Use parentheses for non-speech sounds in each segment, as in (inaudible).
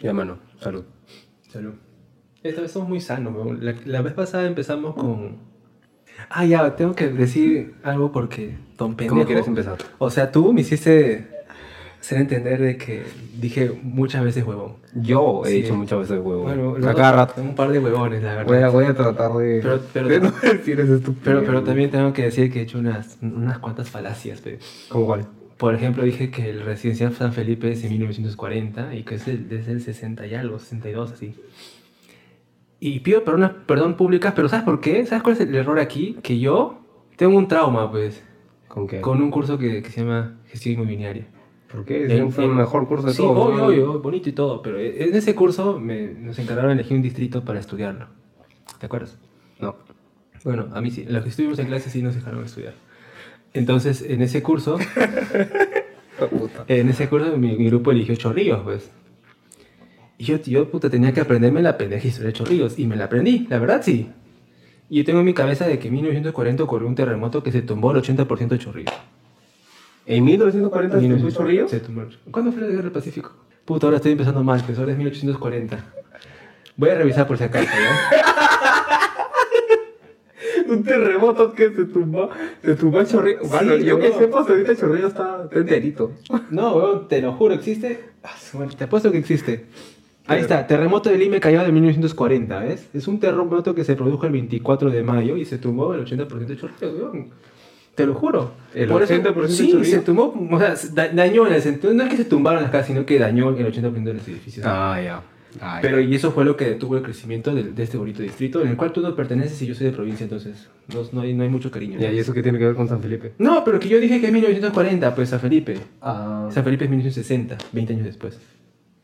Y a mano, salud. Salud. Esta vez somos muy sanos, weón. La, la vez pasada empezamos con. Ah, ya, tengo que decir algo porque, don pendejo. quieres empezar? O sea, tú me hiciste hacer entender de que dije muchas veces huevón. Yo he Sí. dicho muchas veces huevo. Bueno, a cada rato. Un par de huevones, la Voy a, verdad. voy a tratar (laughs) de, Pero- pero- de no decir eso estúpido. Pero, pero también tengo que decir que he hecho unas, unas cuantas falacias, pe. ¿Cómo cuál? Por ejemplo, dije que el residencial San Felipe es de 1940 y que es el, desde el 60 y algo, 62 así. Y pido perdón, perdón públicas, pero ¿sabes por qué? ¿Sabes cuál es el error aquí? Que yo tengo un trauma, pues, ¿Con qué? con un curso que, que se llama gestión inmobiliaria. ¿Por qué? En- Ese fue el en- mejor curso de Sí, todos. obvio, ¿no? obvio, bonito y todo, pero en ese curso me- nos encargaron de elegir un distrito para estudiarlo. ¿Te acuerdas? No. Bueno, a mí sí. Los que estuvimos en clase sí nos dejaron estudiar. Entonces, en ese curso, Puta. Eh, en ese curso mi, mi grupo eligió Chorrillos, pues. Y yo, yo, puta, tenía que aprenderme la pendeja historia de Chorrillos. Y me la aprendí, la verdad sí. Y yo tengo en mi cabeza de que en 1940 ocurrió un terremoto que se tumbó el 80% de Chorrillos. ¿En 1940 se puso 1940 río? Se tumbó el- ¿Cuándo fue la guerra del Pacífico? Puta, ahora estoy empezando mal, pues ahora es 1840. Voy a revisar por si acaso, ¿no? (laughs) Un terremoto que se tumbó. Se tumbó el chorrillo. bueno, Sí, yo que huevón. sepa, ahorita el chorrillo está está enterito. No, weón, te lo juro, existe. Ah, su madre, Te apuesto que existe. Ahí está, terremoto de Lima Callao de 1940, ¿ves? Es un terremoto que se produjo el 24 de mayo y se tumbó el 80% de Chorrillos, weón. Te lo juro. ¿El eso- 80% de Sí, Chorrillos? se tumbó, o sea, se da- dañó en el sentido, no es que se tumbaron las casas, sino que dañó el 80% de los edificios. Ah, ya. Ah, Pero y eso fue lo que detuvo el crecimiento de, de este bonito distrito, en el cual tú no perteneces y yo soy de provincia, entonces no, no hay, no hay mucho cariño. ya. Ya, ¿Y eso qué tiene que ver con San Felipe? No, pero que yo dije que es 1940, pues San Felipe. Ah. San Felipe es 1960, 20 años después.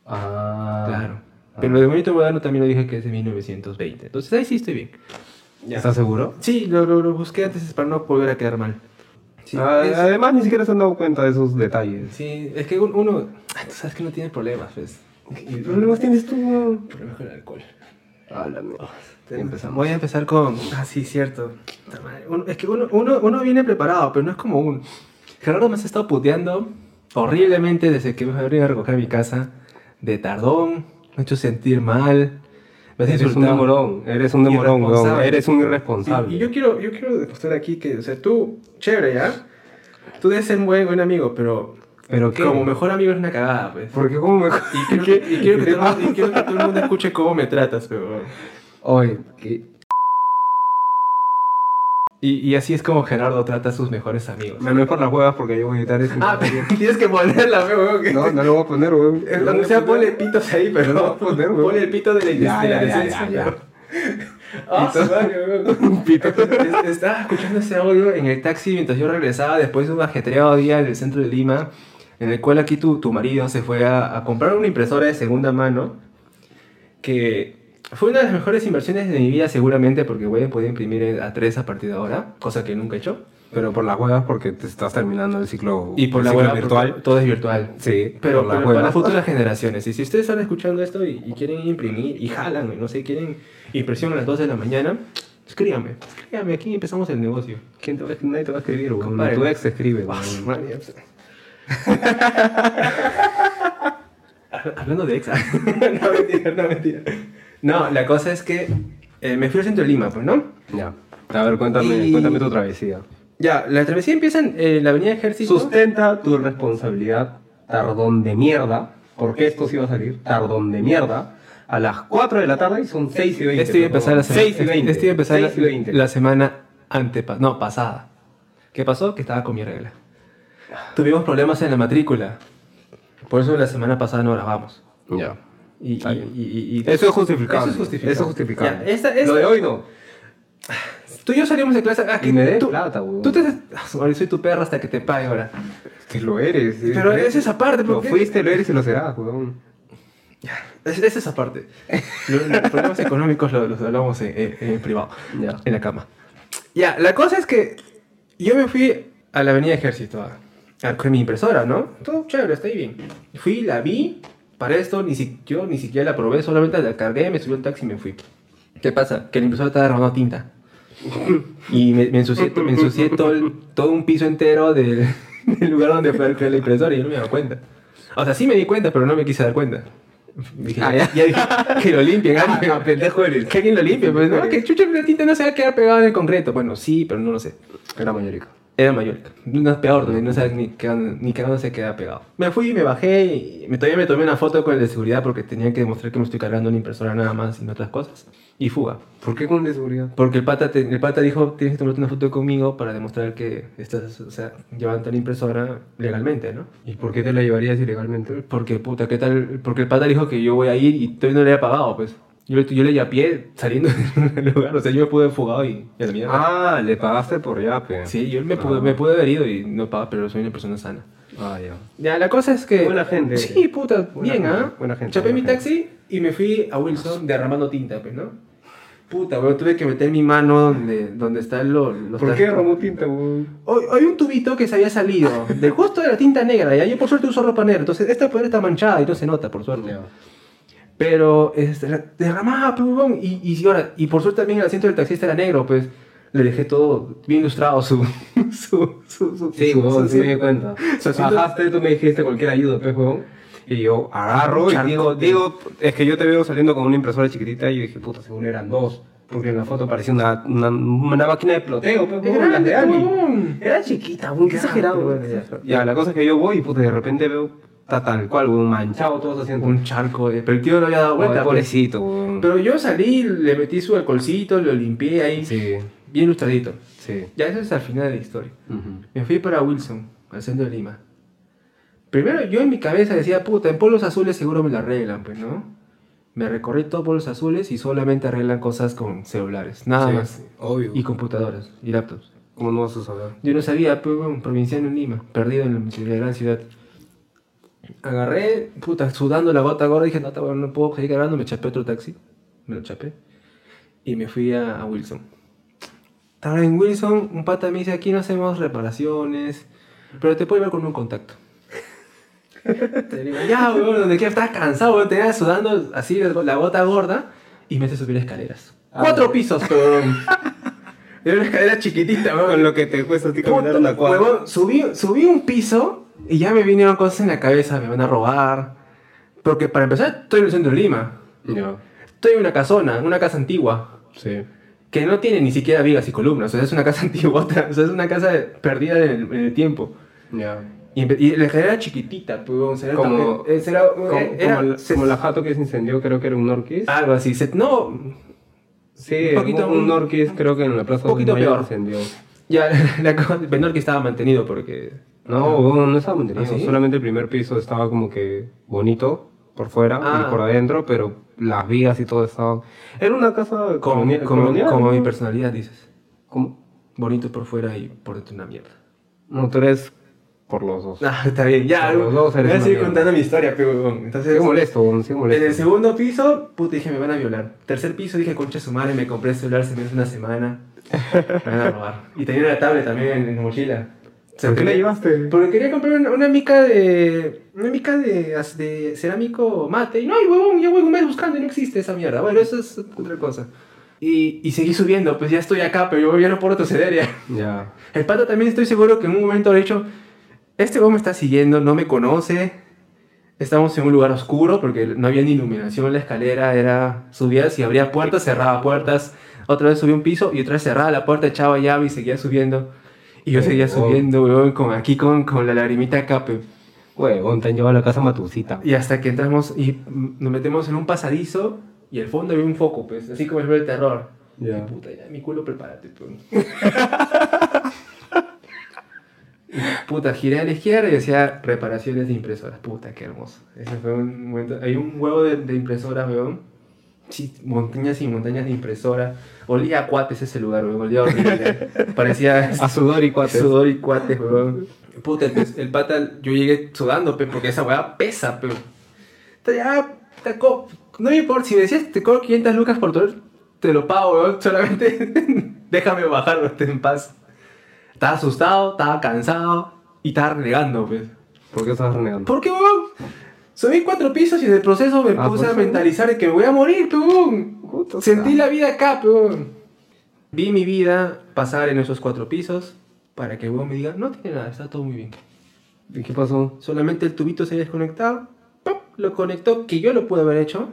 Ah. claro. Pero lo de Bonito Moderno también lo dije que es de 1920. Entonces ahí sí estoy bien. ¿Estás seguro? Sí, lo, lo- lo busqué antes para no volver a quedar mal. Sí, Ah, es, Además, ni siquiera se han dado cuenta de esos detalles. sí, es que un- uno. Ay, Tú sabes que no tiene problemas, pues. ¿Qué problemas tienes tú? Ah, Problemas con el alcohol. Háblame. Empezamos. Voy a empezar con. Ah, sí, cierto. Puta madre. Uno- es que uno, uno- uno viene preparado, pero no es como un. Gerardo me has estado puteando horriblemente desde que me venido a recoger a mi casa. De tardón, me ha hecho sentir mal. Me has Eres un insultado. demorón, eres un demorón, weón. Irresponsable. Eres un Y, irresponsable. y yo quiero, yo quiero demostrar aquí que, o sea, tú, chévere, ¿ya? Tú debes ser un buen, buen amigo, pero. ¿Pero qué? Como mejor amigo es una cagada, pues. Porque como me... Y quiero, que, y quiero que (laughs) todo el mundo- y quiero que todo el mundo escuche cómo me tratas, pero. Oye, ¿qué? Y, y así es como Gerardo trata a sus mejores amigos. me lo es por las huevas porque yo voy a editar eso. (laughs) Ah, pero tienes que ponerla, fe, weón. que- No, no lo voy a poner, (laughs) weón. Cuando sea, ponle pitos ahí, pero No, (laughs) no, poner, weón. Ponle el pito de la Ya, de ya, ya, la decencia, ya, (laughs) weón. Ah, su madre, weón. Un pito. (laughs) Es- Estaba escuchando ese audio en el taxi mientras yo regresaba después de un ajetreado día en el centro de Lima, en el cual aquí tu, tu marido se fue a, a comprar una impresora de segunda mano, que fue una de las mejores inversiones de mi vida seguramente, porque voy a poder imprimir a tres a partir de ahora, cosa que nunca he hecho. Pero por las huevas porque te estás terminando el ciclo, Y por el la ciclo web virtual. Todo es virtual. Sí, Pero, por las pero para huevas. las futuras generaciones, y si ustedes están escuchando esto y, y quieren imprimir y jalan, y no sé, quieren impresión a las 2 de la mañana, escríbame, escríbame, aquí empezamos el negocio. ¿Quién te va a escribir? Nadie te va a escribir, weón. Compadre. Tu ex te escribe, Ah, (laughs) su weón. madre, pues. Habla- (laughs) Hablando de ex, (laughs) no mentira, no mentira. No, la cosa es que eh, me fui al centro de Lima, pues, ¿no? Ya. A ver, cuéntame, Y- cuéntame tu travesía. Ya, la travesía empieza en eh, la avenida Ejército. Sustenta tu responsabilidad, tardón de mierda, porque esto sí va a salir, tardón de mierda, a las 4 de la tarde y son 6 y 20. Este iba a empezar la semana. 6 y 20. Este iba a empezar la- 6 y 20. la semana antepasada. No, pasada. ¿Qué pasó? Que estaba con mi regla. Tuvimos problemas en la matrícula. Por eso la semana pasada no grabamos. Ya. Y, Está y- bien. y- y- y- Eso es justificable. Eso es justificable. Eso es justificable. Ya, esta- esta- Lo de hoy no. Tú y yo salimos de clase. Ah, Y me des tú, plata, weón. Tú te. Ah, su madre, soy tu perra hasta que te pague ahora. Que lo eres. Pero eres- es esa parte, Lo ¿por qué? fuiste, lo eres y lo serás, weón. Es, es esa parte. Los, los problemas económicos lo- los, hablamos en, en- en privado. Ya. En la cama. Ya, la cosa es que yo me fui a la avenida Ejército a, a- con mi impresora, ¿no? Todo chévere, está ahí bien. Fui, la vi. Para esto ni si, yo ni siquiera la probé, solamente la cargué, me subí al taxi y me fui. ¿Qué pasa? Que la impresora estaba derramando tinta. Y me, me ensucié, me ensucié todo, el- todo un piso entero (laughs) del, del lugar donde fue a recoger la impresora y yo no me daba cuenta. O sea, sí me di cuenta, pero no me quise dar cuenta. Dije, Ah, ya. ya dije, que lo limpien, Ah, alguien. ah, pendejo eres. que alguien lo limpie. Pues no, que chucha, la tinta no se va a quedar pegada en el concreto. Bueno, sí, pero no lo sé. Era mayorico. Era mayor. No es peor, donde no sabes ni que ni qué dónde se queda pegado. Me fui, me bajé y me, todavía me tomé una foto con el de seguridad porque tenía que demostrar que me estoy cargando una impresora nada más y no otras cosas. Y fuga. ¿Por qué con el de seguridad? Porque el pata, te- el pata dijo, tienes que tomarte una foto conmigo para demostrar que estás o sea, llevando la impresora legalmente, ¿no? ¿Y por qué te la llevarías ilegalmente? Porque, puta, ¿qué tal? Porque el pata dijo que yo voy a ir y todavía no le había pagado, pues. Yo, le- yo le yapié saliendo (laughs) del lugar, o sea, yo me pude haber fugado y, y a la mierda. Ah, le pagaste por yape. Sí, yo me pude, me pude haber ido y no pagaba, pero soy una persona sana. Ah, ya. Ya, la cosa es que... Buena gente. Sí, puta, Buena bien, gente, ¿ah? buena gente, Chapé buena mi gente. taxi y me fui a Wilson derramando tinta, pues, ¿no? Puta, weón, tuve que meter mi mano donde, donde están los... los ¿Por tar- qué robó tinta, weón? Hoy, hoy un tubito que se había salido del justo de la tinta negra, ya yo por suerte uso ropa negra, entonces esta poder está manchada y no se nota, por suerte. Pero este, la- derramaba, pues, huevón, y, y, sí, ahora, y por suerte también el asiento del taxista era negro, pues le dejé todo bien ilustrado su... (laughs) su, su, su- Sí, su- weón, su- sí me di cuenta. Se siente- Bajaste, tú me dijiste cualquier ayuda, pues, weón. Y yo agarro y Charco. digo, digo, es que yo te veo saliendo con una impresora chiquitita y yo dije, puta, según eran dos. Porque en la foto parecía una, una, una máquina de ploteo, pues, Es weón, las grande, de Ali. huevón. Era chiquita, weón, qué Grande, exagerado, weón, weón. ya. Ya, la cosa es que yo voy y, puta, de repente veo, está tal cual, weón, manchado todos haciendo. Un charco, de... pero el tío no había dado vuelta. pues. pobrecito, weón. Pero yo salí, le metí su alcoholcito, lo limpié ahí, Sí, bien ilustradito. sí. Ya eso es al final de la historia. Ujú. Me fui para Wilson, al centro de Lima. Primero yo en mi cabeza decía, puta, en polos azules seguro me la arreglan, pues, ¿no? Me recorrí todos polos azules y solamente arreglan cosas con celulares, nada Sí, más. Obvio. Y computadoras, y laptops. cómo no vas a saber? Yo no sabía, pues, bueno, provinciano en Lima, perdido en la gran ciudad. Agarré, puta, sudando la gota gorda, dije, no, ta, bueno, no puedo seguir grabando, me chapé otro taxi, me lo chapé, y me fui a, a Wilson. Estaba en Wilson, un pata me dice, aquí no hacemos reparaciones, pero te puedo llevar con un contacto. (laughs) Te digo, ya, weón, donde quiera, estás cansado, weón, te ibas sudando así la gota gorda, y me hace subir escaleras. Ah, Cuatro bueno. pisos, (laughs) weón. Era una escalera chiquitita, weón. Con lo que te cuesta a ti caminar Puta, una cuadra. huevón, subí, subí un piso y ya me vinieron cosas en la cabeza, me van a robar. Porque para empezar, estoy en el centro de Lima. Ya, Estoy en una casona, en una casa antigua, sí. que no tiene ni siquiera vigas y columnas. O sea, es una casa (laughs) antigua, o sea, es una casa perdida en el, en el tiempo. Ya. Y, empe- y la escalera era chiquitita, pues, huevón, o sea, era Como- también- eh, era- Como, eh, era- como la, se- como la jato que se incendió, creo que era un Norquis. Algo así, se- no, sí, un poquito- un, un Norquis creo que en la plaza un poquito Mayo peor. Ah. se incendió. ya, (laughs) la, cosa- menor que estaba mantenido porque... No, bueno, no estaba mantenido. ¿Ah, sí? Solamente el primer piso estaba como que bonito por fuera Ah. y por adentro, pero las vigas y todo estaba. Era una casa Como, colonial. como- colonial, como ¿no? mi personalidad, dices. ¿Cómo? Bonito por fuera y por dentro una mierda. No, tú eres por los dos. Ah, está bien, ya. Por los dos voy eres a una seguir mierda. contando mi historia, pero huevón. Sigue Entonces, molesto, weón, sigue en el molesto. segundo piso, puta, dije, me van a violar. Tercer piso, dije, concha su madre, me compré el celular, se me hace una semana. Me van a robar. Y tenía una tablet también en la mochila. O sea, ¿Por qué la quería- llevaste? Porque quería comprar una, una mica de. Una mica de, as- de cerámico mate. Y no, y huevón, ya voy un mes buscando y no existe esa mierda. Bueno, eso es otra cosa. Y, y seguí subiendo, pues ya estoy acá, pero yo ya no puedo retroceder ya. Ya. El pato también estoy seguro que en un momento habrá dicho, este hombre me está siguiendo, no me conoce, estamos en un lugar oscuro porque no había ni iluminación, la escalera era, subías y abría puertas, cerraba puertas, otra vez subía un piso y otra vez cerraba la puerta, echaba llave y seguía subiendo. Y yo seguía Oh. subiendo, weón, con, aquí con, con la lagrimita acá, pe. Huevón, te han llevado a la casa matucita. Y hasta que entramos y mm, nos metemos en un pasadizo y al fondo había un foco, pues, así como el del terror. Y Ya. puta, ya, mi culo, prepárate, pues. pe. (laughs) Puta, giré a la izquierda y decía reparaciones de impresoras. Puta, qué hermoso. Ese fue un momento. Hay un huevo de, de impresoras, weón. Sí, montañas y montañas de impresoras. Olía a cuates ese lugar, weón. Olía (laughs) horrible. Parecía A sudor y cuates. sudor y cuates, weón. Puta, el, el pata, yo llegué sudando, pe, porque esa weá pesa, pe. Ta- Ya, ta- co- no me importa, si me decías te cobro 500 lucas por todo, te lo pago, weón. Solamente (laughs) déjame bajarlo, ten en paz. Estaba asustado, estaba cansado y estaba renegando, pues. ¿Por qué estabas renegando? ¿Por qué, weón? Subí cuatro pisos y en el proceso me Ah, puse por a eso. mentalizar de que me voy a morir, pe, weón. Puta, Sentí o sea. la vida acá, peón. Vi mi vida pasar en esos cuatro pisos para que el weón me diga, no tiene nada, está todo muy bien. ¿Y qué pasó? Solamente el tubito se había desconectado, ¡pop! lo conectó, que yo lo pude haber hecho,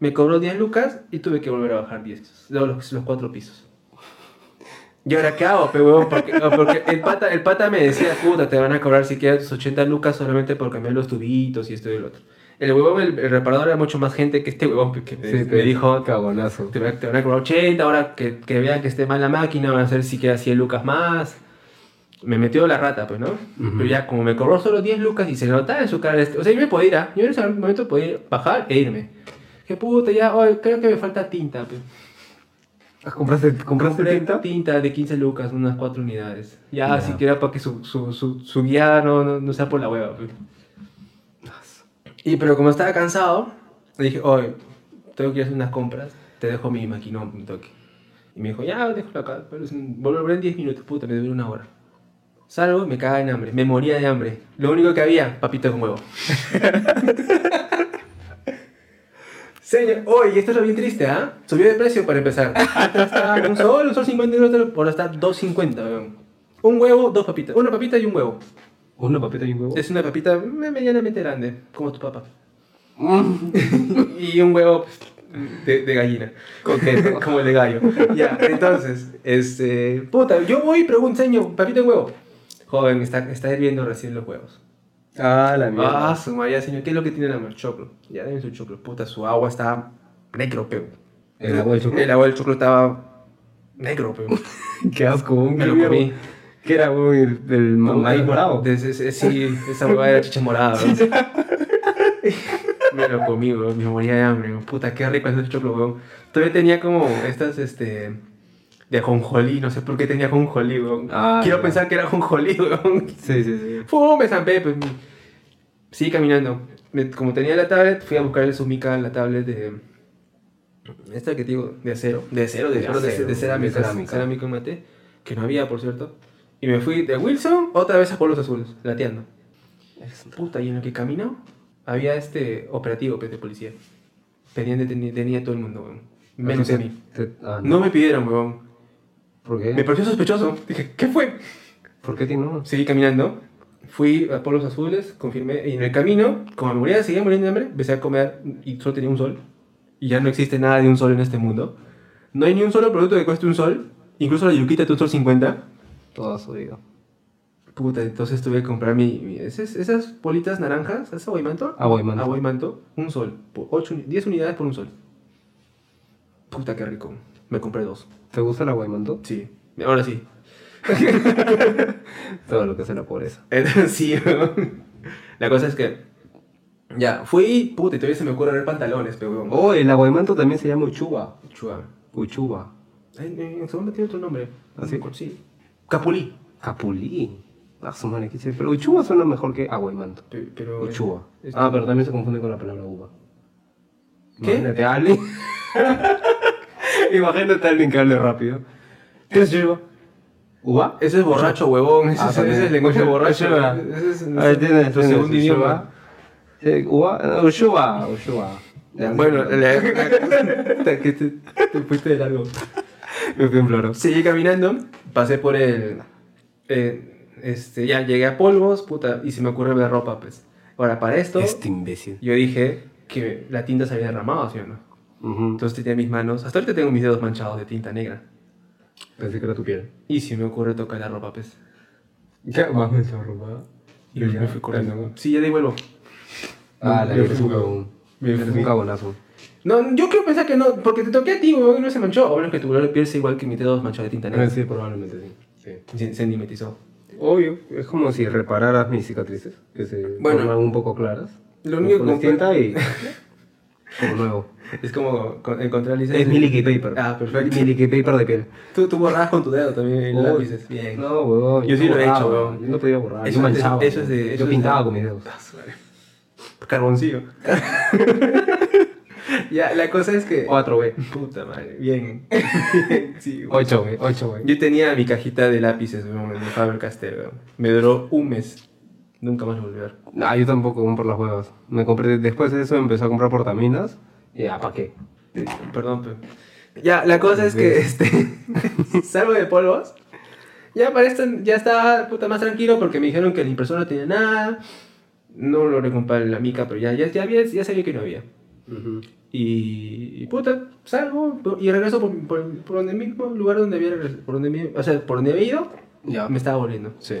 me cobró 10 lucas y tuve que volver a bajar 10, no, los, los cuatro pisos. ¿Y ahora qué hago, pe huevón? Porque, porque el, pata, el pata me decía, puta, te van a cobrar si quieres tus 80 lucas solamente por cambiar los tubitos y esto y el otro. El huevón, el, el reparador era mucho más gente que este huevón pe, que me, Sí, me dijo, Cagonazo. te, van- te van a cobrar 80, ahora que, que vean que esté mal la máquina, van a hacer siquiera 100 lucas más. Me metió la rata, pues, ¿no? Pero ya como me cobró solo 10 lucas y se notaba en su cara... este- o sea, yo me podía ir, ¿ah? yo en ese momento podía ir, bajar e irme. Que puta, ya, hoy creo que me falta tinta, pues. Ah, ¿Compraste, compraste Compré tinta? tinta de 15 lucas, unas 4 unidades. Ya, Ya. siquiera para que su, su, su, su guiada no, no, no sea por la hueva. pues. Y pero como estaba cansado, le dije, oye, tengo que ir a hacer unas compras, te dejo mi maquinón un toque. Y me dijo, ya, déjalo acá, pero es un- volveré en 10 minutos, puta, me duró una hora. Salgo, me cagaba en hambre, me moría de hambre. Lo único que había, papita con huevo. Señor, oye, esto es lo bien triste, ¿ah? Subió de precio para empezar. Antes estaba un sol, un sol 50 y otro, ahora está 2.50, weón. Un huevo, dos papitas. Una papita y un huevo. ¿Una papita y un huevo? Es una papita me- medianamente grande, como tu papá. Mm. y un huevo pues, de, de gallina. Coqueto. (laughs) como el de gallo. Ya, entonces, este. Puta, yo voy y pregunto, señor, papita y huevo. Joven, está, está hirviendo recién los huevos. Ah, la mierda. (laughs) Ah, su María, señor, ¿qué es lo que tiene la mano? Choclo. Ya, dame su choclo. Puta, su agua está negro, peo. ¿El agua del choclo? El agua del choclo estaba (laughs) negro, peo. Qué asco, un Me lo huevo. comí. ¿Qué era, huevo? ¿El, el maíz morado? De- de- de- sí, esa huevada era (laughs) chicha morada. weón. me lo comí, weón. Me moría de hambre. weón. Puta, qué rico es el choclo, weón. Todavía tenía como estas, este... De ajonjolí, no sé por qué tenía ajonjolí, weón. Ah, Quiero ya. pensar que era ajonjolí, (laughs) weón. Sí, sí, sí. Fum, me zampé, pues. Sigue caminando. Me- como tenía la tablet, fui a buscar el Sumica, la tablet de. Esta que te digo, de acero. De acero, de, De acero, de- acero, de cerámica. de cerámica. Cerámica en mate. Que no había, por cierto. Y me fui de Wilson otra vez a Pueblos Azules, lateando. Puta, y en lo que camino, había este operativo pues, de policía. Pendiente tenía, tenía todo el mundo, weón. Menos a mí. Te- ah, No me pidieron, weón. ¿Por qué? Me pareció sospechoso. Dije, ¿qué fue? ¿Por qué tiene unos? Seguí caminando, fui a Polos Azules, confirmé, y en el camino, como me moría, seguía muriendo de hambre, empecé a comer y solo tenía un sol. Y ya no existe nada de un sol en este mundo. No hay ni un solo producto que cueste un sol, incluso la yuquita de un sol 50. Todo subido. Puta, entonces tuve que comprar mi, mi- esas, esas bolitas naranjas, ¿es aguaymanto? Aguaymanto. Aguaymanto, un sol, por ocho uni- 10 unidades por un sol. Puta, qué rico. Me compré dos. ¿Te gusta el aguaymanto? Sí, ahora sí. Todo lo que es la pobreza. Entonces, (laughs) sí, weón. La cosa es que. Ya, fui, puta, y todavía se me ocurre ver pantalones, pero weón. oh, Oh, el aguaymanto también se llama uchuba. Chua. Uchuba. En, en- en segundo tiene otro nombre. ¿Ah, sí? Sí. Capulí. Capulí. Ah, su madre, qué chévere. Pero uchuba suena mejor que aguaymanto. Pe- Pero. Uchuba. es- Ah, pero también se confunde con la palabra uva. ¿Qué? Imagínate a alguien. (laughs) Imagínate a alguien que hable rápido. ¿Qué es uchuba? ¿Uva? Ese es borracho, huevón. Ese, Ah, es, también. ese (laughs) es (laughs) lenguaje borracho. Uchuba. Ese es A ver, tienes, nuestro tienes, segundo uchuba. idioma. Sí, Uva, uchuba, uchuba. Ya, Bueno, (laughs) sí. la, la- que te, te fuiste de largo. me fui en floro. (laughs) Seguí caminando, pasé por el. eh, este, ya llegué a polvos, puta, y se me ocurre ver ropa, pues. Ahora, para esto. Este imbécil. Yo dije que la tinta se había derramado, ¿sí o no? Ujú. Entonces tenía mis manos, hasta ahorita tengo mis dedos manchados de tinta negra. Pensé que era tu piel. Y si me ocurre tocar la ropa, pues. ¿Qué? Más me hizo ropa. Y yo me fui corriendo. Sí, ya de ahí vuelvo. Ah, la Yo que eres fui un huevón. cagón. Me Eres fui. un cagonazo. No, yo quiero pensar que no, porque te toqué a ti, huevón, y no se manchó. O menos que tu color de piel sea igual que mis dedos manchados de tinta negra. Ah, Sí, probablemente sí. sí. Se, se mimetizó. Obvio, es como si repararas mis cicatrices, que se Bueno. forman un poco claras. Lo único Pones que- tinta y... (laughs) como nuevo. Es como con- encontrar licencia. Es mi liquid paper. Ah, perfecto. Mi liquid paper de piel. Tú, tú borrabas con tu dedo también Oh, los lápices. Bien. No, huevón. Yo sí lo he borraba, hecho, huevón. Yo no podía borrar. Eso yo es- manchaba. eso es de- huevón. eso Yo es pintaba de- con mis dedos. (laughs) Carboncillo. ya, la cosa es que. 4B. Puta madre, bien. (laughs) sí, güey. 8B. 8B. Yo tenía mi cajita de lápices weón, de Faber Castell. weón. Me duró un mes. Nunca más volví a ver. Ah, yo tampoco, aún por las huevas. Me compré, después de eso empecé a comprar portaminas. Y ya, ¿para qué? Perdón, pero. Ya, la cosa es que este, (laughs) salgo de polvos. Ya para esto ya estaba puta más tranquilo porque me dijeron que la impresora no tenía nada. No lo recompré la mica, pero ya, ya, ya, había- ya sabía que no había. Y, y puta, salgo y regreso por, por- por donde mismo lugar donde había regres- por donde, mi- o sea, por donde había ido, Ya. me estaba volviendo. Sí.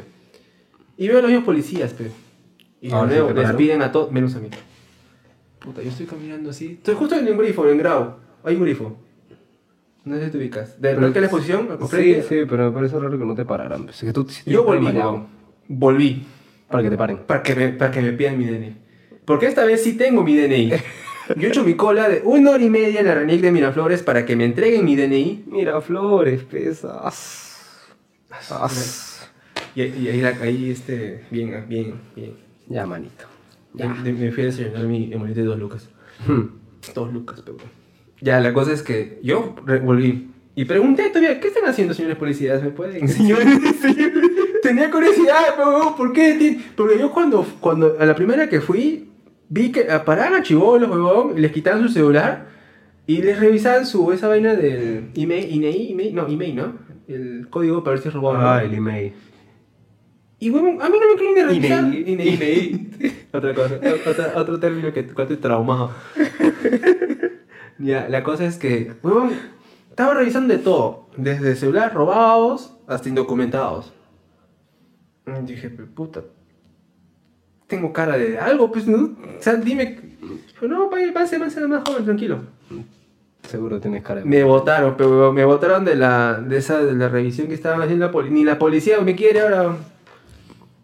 Y veo a los mismos policías, pe. Y de Ahora Ah, sí nuevo, te les pararon. piden a todos, menos a mí. Puta, yo estoy caminando así. Estoy justo en un grifo, en Grau. Hay un grifo. No sé si te ubicas. ¿De Pero- verdad que la exposición? al Sí, frente, sí, pero me parece raro que no te pararan. pues, es que tú, si tú Yo estás volví, mareado, weón. Volví. Para que te paren. Para que, me, para que me pidan mi DNI. Porque esta vez sí tengo mi DNI. (laughs) Yo he hecho mi cola de una hora y media en la RENIC de Miraflores para que me entreguen mi DNI. Mira, flores, pesas. Ah, As. Y, y ahí, la- ahí este, bien, bien, bien. Ya, manito. Me, me fui a desayunar mi emolito de dos lucas. (laughs) Hmm. Dos lucas, pero bueno. Ya, la cosa es que yo re- volví. Y pregunté todavía, ¿qué están haciendo, señores policías? (laughs) ¿Me pueden? Señores, señores. (laughs) Tenía curiosidad, pero "Oh, ¿por qué? Ti- Porque yo cuando, cuando, a la primera que fui, vi que a parar a chivolos, huevón, les quitaban su celular y les revisaban su, esa vaina del email, INEI, email, no, email, ¿no? El código para ver si es robado. o no. Ah, el email. Y huevón, a mí no me quieren ni revisar. INEI. (laughs) Otra cosa, otra- otro término que te cuento traumado. (laughs) ya, la cosa es que, huevón, estaba revisando de todo. Desde celulares robados hasta indocumentados. Y dije, "Pe- puta, tengo cara de algo, pues, ¿no? O sea, dime... Pero no, pa- pase, pase, más joven, tranquilo. Seguro tienes cara de. Me votaron, pero huevón, me votaron de la, de esa, de la revisión que estaban haciendo la policía. Ni la policía me quiere ahora.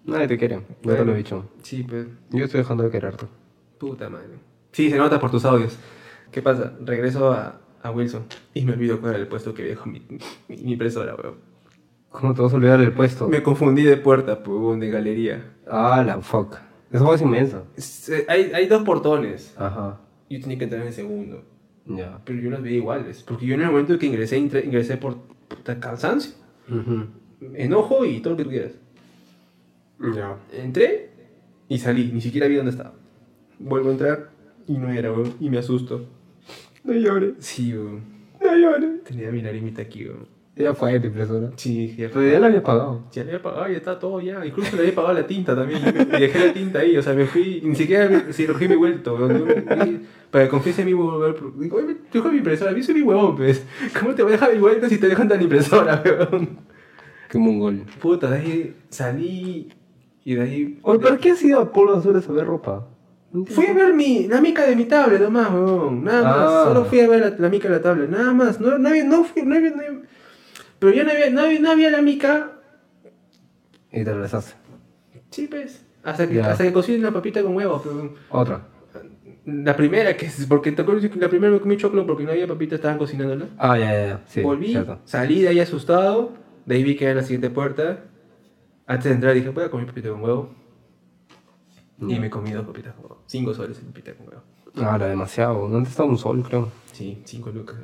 Nadie te quiere. No te lo he dicho. Sí, pues... Yo estoy dejando de quererte. Puta madre. Sí, se nota por tus audios. ¿Qué pasa? Regreso a, a Wilson y me olvido cuál era el puesto que dejó mi, mi, mi impresora, weón. ¿Cómo te vas a olvidar del puesto? Me confundí de puerta, pues, weón, de galería. Ah, la fuck. Esa voz es inmensa. Se- eh, hay, hay dos portones. Ajá. Yo tenía que entrar en el segundo. Ya. Pero yo los veía iguales. Porque yo en el momento que ingresé, intre- ingresé por puta cansancio, enojo y todo lo que tú quieras. Ya. Entré y salí, ni siquiera vi dónde estaba. Vuelvo a entrar y no era, weón, y me asusto. No llores. Sí, weón. No llores. Tenía mi larimita aquí, weón. Ya fue tu impresora. Sí, dije, Pero ya la había pagado. Ya le había pagado, ya está todo ya. Incluso le había pagado la tinta también. Y dejé la tinta ahí, o sea, me fui. Ni siquiera me- cirugí mi vuelto. weón. Y- Para que confíes en mí, volver. Digo, oye, te dejo mi impresora. A mí soy mi huevón, pues. ¿Cómo te voy a dejar mi vuelto si te dejan tan impresora, (laughs) weón? Qué mongol. Puta, de ahí salí. Y de ahí. oh, Oye, ¿pero qué has ido a Polo Azul a saber ropa? No entiendo. Fui a ver mi, la mica de mi tablet nomás, weón. Nada más. Ah. Solo fui a ver la, la mica de la tablet. Nada más. No, no, había, no fui. No había, no había- pero ya no había, no había, no había la mica Y te regresaste. Sí, pues. Hasta que, Ya. hasta que cocinen la papita con huevo. Pero Otra. la primera que es, porque te acuerdas que la primera me comí choclo porque no había papita, estaban cocinándola. Ah, ya, ya, ya. Sí, Volví, cierto. salí de ahí asustado, de ahí vi que era la siguiente puerta. Antes de entrar dije, voy a comer papita con huevo. Y me comí dos papitas con huevo. Cinco soles en papita con huevo. Ah, era demasiado. No estaba un sol, creo. Sí, cinco lucas.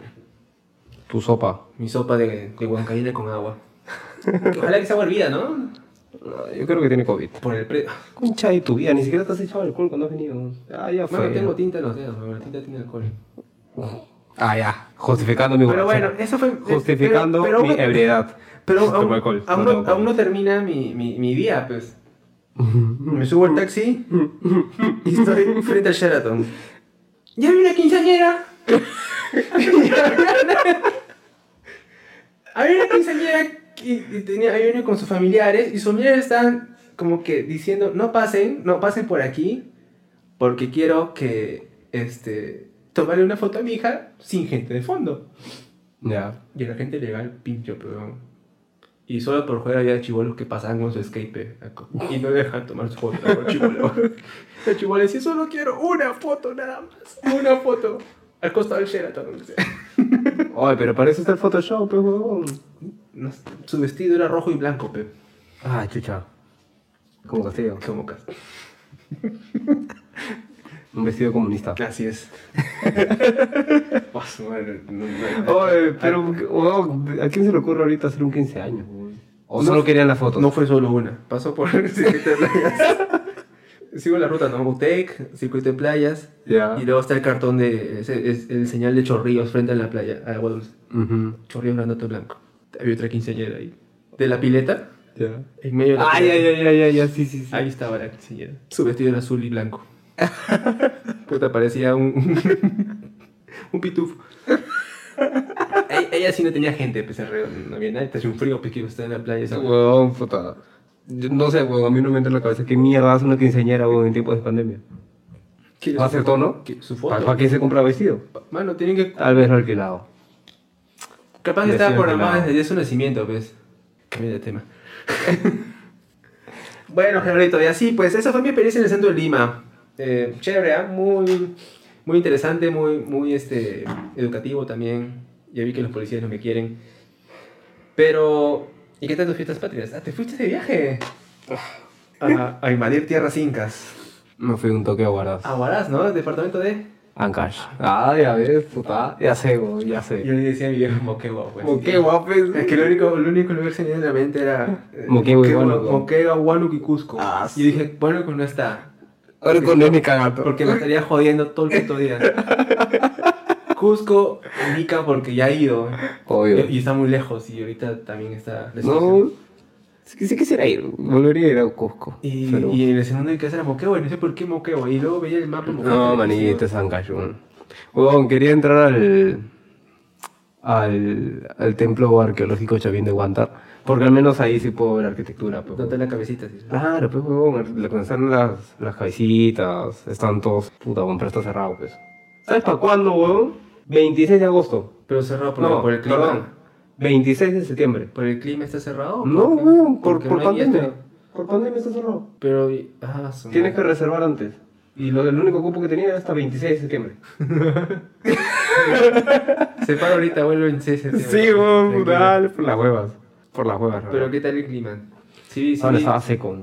Tu sopa. Mi sopa de, de huancaína con agua. (laughs) Que Ojalá que sea hervida, ¿no? Ah, Yo creo que tiene COVID. Por el precio. Concha de tu vida, ni siquiera te has echado alcohol cuando has venido. Ah, ya fue. Bueno, tengo tinta en los dedos, pero la tinta tiene alcohol. Ah, ya. Justificando mi Pero borrachera. bueno, eso fue- eh, Justificando pero- pero- mi ebriedad. (laughs) Pero Tomo aún, alcohol, aún no no, tomo aún no termina mi, mi, mi día, pues. Me subo al taxi y estoy frente al Sheraton. ¡Ya vi una quinceañera! (laughs) había una quinceañera y, y tenía, había venido con sus familiares y sus familiares estaban como que diciendo, no pasen, no pasen por aquí porque quiero que, este, tomarle una foto a mi hija sin gente de fondo. (laughs) Ya. Y la gente le va al pincho, pero. Y solo por jugar había chivolos que pasaban con su escape aco- y no le dejaban tomar su foto al (laughs) chivolo. El chivolo decía: Solo quiero una foto nada más, una foto. Al costado del Sheraton. o sea. Oye, pero para eso está el Photoshop, pues, huevón. No sé, su vestido era rojo y blanco, pe. Ah, chucha. Como castigo. Como cas- Un vestido comunista. Así (laughs) es. Oh, su madre, no, no, no. Oye, pero, huevón, ¿a quién se le ocurre ahorita hacer un 15 años? huevón? O solo querían las fotos. No fue solo una, pasó por (laughs) el circuito de (laughs) playas. Sigo la ruta, ¿no? Butec, circuito de playas. Ya. Y luego está el cartón de. es- es el señal de chorrillos frente a la playa, ah, a agua dulce. Ujú. Chorrillos grandote blanco. Había otra quinceañera ahí. De la pileta, Ya. En medio de la Ay, pelea. ay, ay, ay, ay, ay, sí, sí, sí. Ahí estaba la quinceañera. Su vestido era azul y blanco. (laughs) Puta, parecía un. (laughs) un pitufo. E- Ella sí no tenía gente, pues alrededor. No había nadie. Te hace un frío, pues que iba a estar en la playa. esa- Huevón, puta. Yo no sé, huevón, a mí no me entra en la cabeza qué mierda hace una quinceañera, huevón, en tiempos de pandemia. ¿Quieres ¿Va a hacer su- tono? que- Su foto. ¿Para, para qué se compra vestido? Mano, tienen que. Tal vez lo alquilado. Capaz que Decían estaba que programada la- desde su nacimiento, pues. Cambia de tema. (laughs) bueno, Gerardo, y así, pues, esa fue mi experiencia en el centro de Lima. Eh, chévere, ¿ah? muy, muy interesante, muy, muy este, educativo también. Ya vi que los policías no me quieren. Pero, ¿y qué tal tus fiestas patrias? Ah, te fuiste de viaje Ah, a, a invadir tierras incas. Me fui un toque a Guaraz. A Huaraz, ¿no? Departamento de... Ancash. Ah, ya ves, puta. Ya sé, huevón, ya sé. Yo le decía a mi viejo Moquegua, pues. guapes. Es que el único, el único lugar que se me viene a la mente era eh, Moquegua y Moquegua- Huánuco. Moquegua, Huánuco y Cusco. Ah, y dije, Huánuco no está, Ahora con él ni cagato. porque me estaría jodiendo todo el puto día. Cusco, Ica, porque ya he ido. Obvio. Y, y está muy lejos, y ahorita también está. No. la situación. Sí, que- sí quisiera ir. Volvería a ir a Cusco. Y, Pero- y en el segundo de casa era Moquegua, y no sé por qué Moquegua. Y luego veía el mapa Moquegua. No, manito, es Ancayún. Huevón, quería entrar al, al, al templo arqueológico Chavín de Huántar, porque al menos ahí sí puedo ver arquitectura. Pues, Donde está la cabecita. sí. Claro, pues, huevón, le están las, las cabecitas, están todos... Puta, huevón, pero está cerrado, pues. ¿Sabes para cuándo, huevón? 26 de agosto. Pero cerrado por, no, por el clima. perdón, 26 de septiembre. ¿Por el clima está cerrado? o No, por qué? huevón, por, Porque por no hay este. pandemia. esto. Por pandemia está cerrado. Pero, y- ah, su Tienes que madre. reservar antes. Y lo, el único cupo que tenía era hasta 26 de septiembre. Se para ahorita, vuelve en 6 Sí, weón, brutal. Por las huevas. Por las huevas, Pero Pero ¿qué tal el clima? Sí, sí. Ahora estaba seco.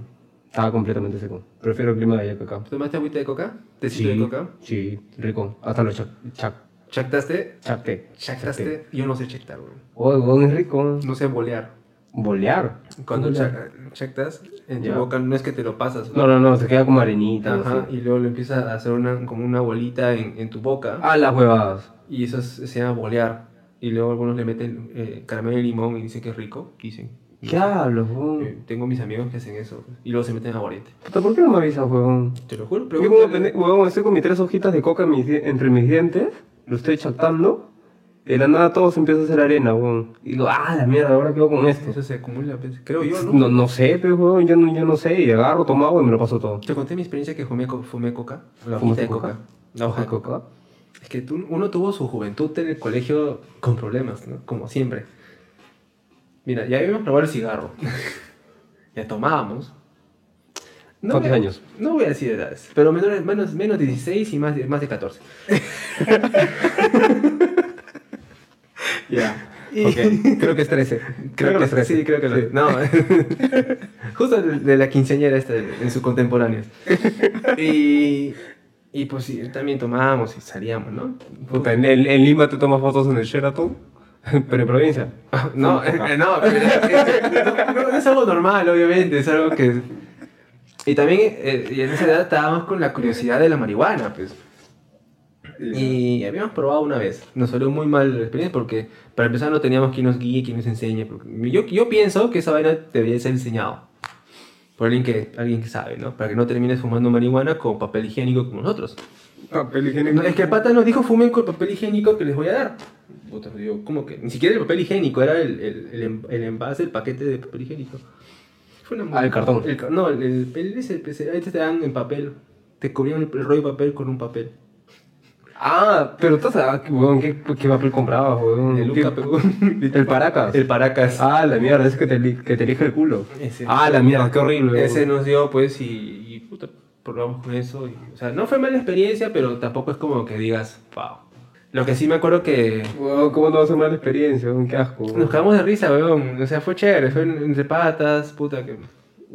Estaba completamente seco. Prefiero el clima de allá que acá. ¿Tomaste agüita de coca? ¿Tecito de coca? Sí, rico. Hasta los chac... chac... ¿Chactaste? chacte. ¿Chactaste? Yo no sé chactar, bro. Oh, weón, es rico. No sé bolear. Bolear. Cuando Bolear. chac- chactas en tu Ya. boca no es que te lo pasas. No, no, no, se queda como arenita. Ajá, así. y luego lo empiezas a hacer una, como una bolita en, en tu boca. Ah, las huevadas. Y eso es- se llama bolear. Y luego algunos le meten eh, caramelo y limón y dicen que es rico. Dicen. Diablos, weón. Eh, tengo mis amigos que hacen eso. Y luego se meten a aguardiente. Puta, ¿Por qué no me avisas, huevón? Te lo juro, Yo como pregúntale. pende- huevón, estoy con mis tres hojitas de coca en mis di- entre mis dientes, lo estoy chactando, de la nada todo se empieza a hacer arena, huevón. Y digo, ah, la mierda, ahora quedo con esto. Eso se acumula, pues, creo yo, ¿no? No, no sé, pero huevón, yo no, yo no sé, y agarro, tomo agua y me lo paso todo. Te conté mi experiencia que fumé, co- fumé coca. La hojita ¿Fumaste de coca. coca? La hoja de coca. Es que tú- uno tuvo su juventud en el colegio con problemas, ¿no? Como siempre. Mira, ya habíamos probado (laughs) el cigarro. ya tomábamos. ¿Cuántos voy a- años? No voy a decir edades, pero menores, menos, menos 16 y más de, más de 14. (laughs) Ya. Y- Ok, creo que es 13. Creo que es sí, creo que lo No, (laughs) justo de, de la quinceañera esta, de- en sus contemporáneos. Y, y pues sí, también tomábamos y salíamos, ¿no? Puta, en, en- en Lima te tomas fotos en el Sheraton, (laughs) pero en provincia. (laughs) No, eh, no, pero, eh, no, no es algo normal, obviamente, es algo que... Y también eh, y en esa edad estábamos con la curiosidad de la marihuana, pues. Y habíamos probado una vez. Nos salió muy mal la experiencia porque, para empezar, no teníamos quien nos guíe, quien nos enseñe. porque Yo, yo pienso que esa vaina debería ser enseñado por alguien que, alguien que sabe, ¿no? Para que no termines fumando marihuana con papel higiénico como nosotros. Ah, Papel higiénico. No, es que el pata nos dijo fumen con el papel higiénico que les voy a dar. Puta, digo, ¿cómo que? Ni siquiera el papel higiénico, era el, el, el em- el envase, el paquete de papel higiénico. Fue una Ah, el cartón. el ca- no, el, el, el- ese, el- ese- ahí te dan en papel. Te cubrían el, el rollo de papel con un papel. Ah, pero estás ah, huevón, ¿qué, qué papel comprabas, huevón? El ¿Qué- Luca, (laughs) pe- El Paracas. El paracas. Ah, la mierda, ese que te, li- que te elige el culo. Ese. Ah, la mierda, qué horrible. Ese nos dio, pues, y, y, puta, probamos con eso. y- o sea, no fue mala experiencia, pero tampoco es como que digas, wow. Lo que sí me acuerdo que Wow, ¿Cómo no va a ser mala experiencia? weón? Qué asco. weón. Nos cagamos de risa, weón. O sea, fue chévere, fue en- entre patas, puta que.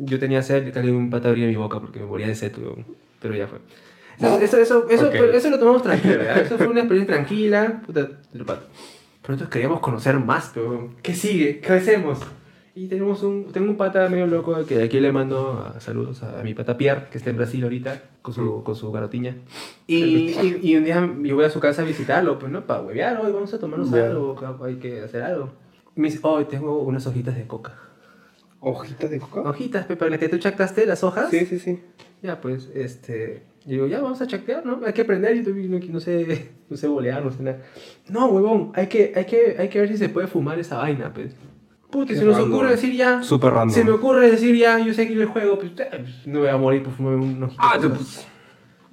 Yo tenía sed y calé un pata abría mi boca porque me moría de sed, weón. Pero ya fue. Eso, eso, eso, eso, Ok. pero eso lo tomamos tranquilo, ¿ya? Eso fue una experiencia tranquila, puta, el pato. Pero nosotros queríamos conocer más, weón. ¿Qué sigue? ¿Qué hacemos? Y tenemos un, tengo un pata medio loco que de aquí le mando a- saludos a, mi pata Pierre, que está en Brasil ahorita, con su, con su garotiña. Y, y, y un día yo voy a su casa a visitarlo, pues no, para huevear, hoy vamos a tomarnos Ya. algo, ca- hay que hacer algo. Me dice, hoy tengo unas hojitas de coca. ¿Hojitas de coca? Hojitas, pe, para que tú chactaste las hojas. Sí, sí, sí. Ya, pues, este. yo digo, ya, vamos a chactear, ¿no? Hay que aprender. Yo también no, no sé, (laughs) no sé bolear, no sé nada. No, huevón, hay que, hay, que, hay que ver si se puede fumar esa vaina, pues. Puta, Qué se nos random. ocurre decir ya. Súper random. Se me ocurre decir ya, yo sé que yo juego, pues, eh, pues, no voy a morir por fumarme un hojito. Ah, de tú, coca. pues.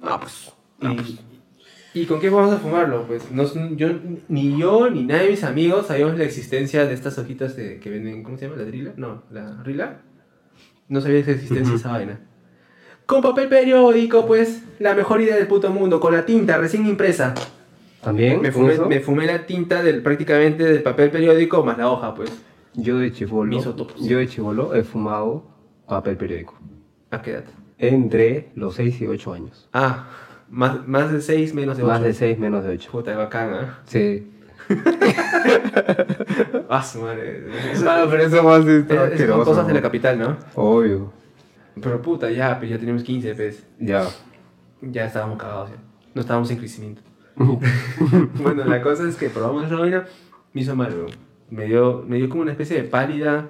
Ah, pues. Ah, pues. Y, ¿Y con qué vamos a fumarlo? Pues no, yo, ni yo ni nadie de mis amigos sabíamos la existencia de estas hojitas de- que venden, ¿cómo se llama? ¿La drila? No, la rila. No sabía la existencia de esa vaina. Con papel periódico, pues, la mejor idea del puto mundo, con la tinta recién impresa. ¿También? Me fumé, ¿Eso? me fumé la tinta del, prácticamente del papel periódico más la hoja, pues. Yo de chivolo. Me hizo autopsia. Yo de chivolo he fumado papel periódico. ¿A Ah, qué edad? Entre los 6 y 8 años. Ah, más, más de 6 menos de 8. Más de 6, menos de 8. Puta, (laughs) bacán, ¿ah? Sí. Ah, su madre. (laughs) Ah, pero eso más es Esas son cosas de la capital, ¿no? Obvio. Pero puta, ya, pues ya teníamos 15, pues. Ya. Ya estábamos cagados, ya. No estábamos en (laughs) crecimiento. bueno, la cosa es que probamos esa vaina, me hizo mal, weón. Me dio, me dio como una especie de pálida.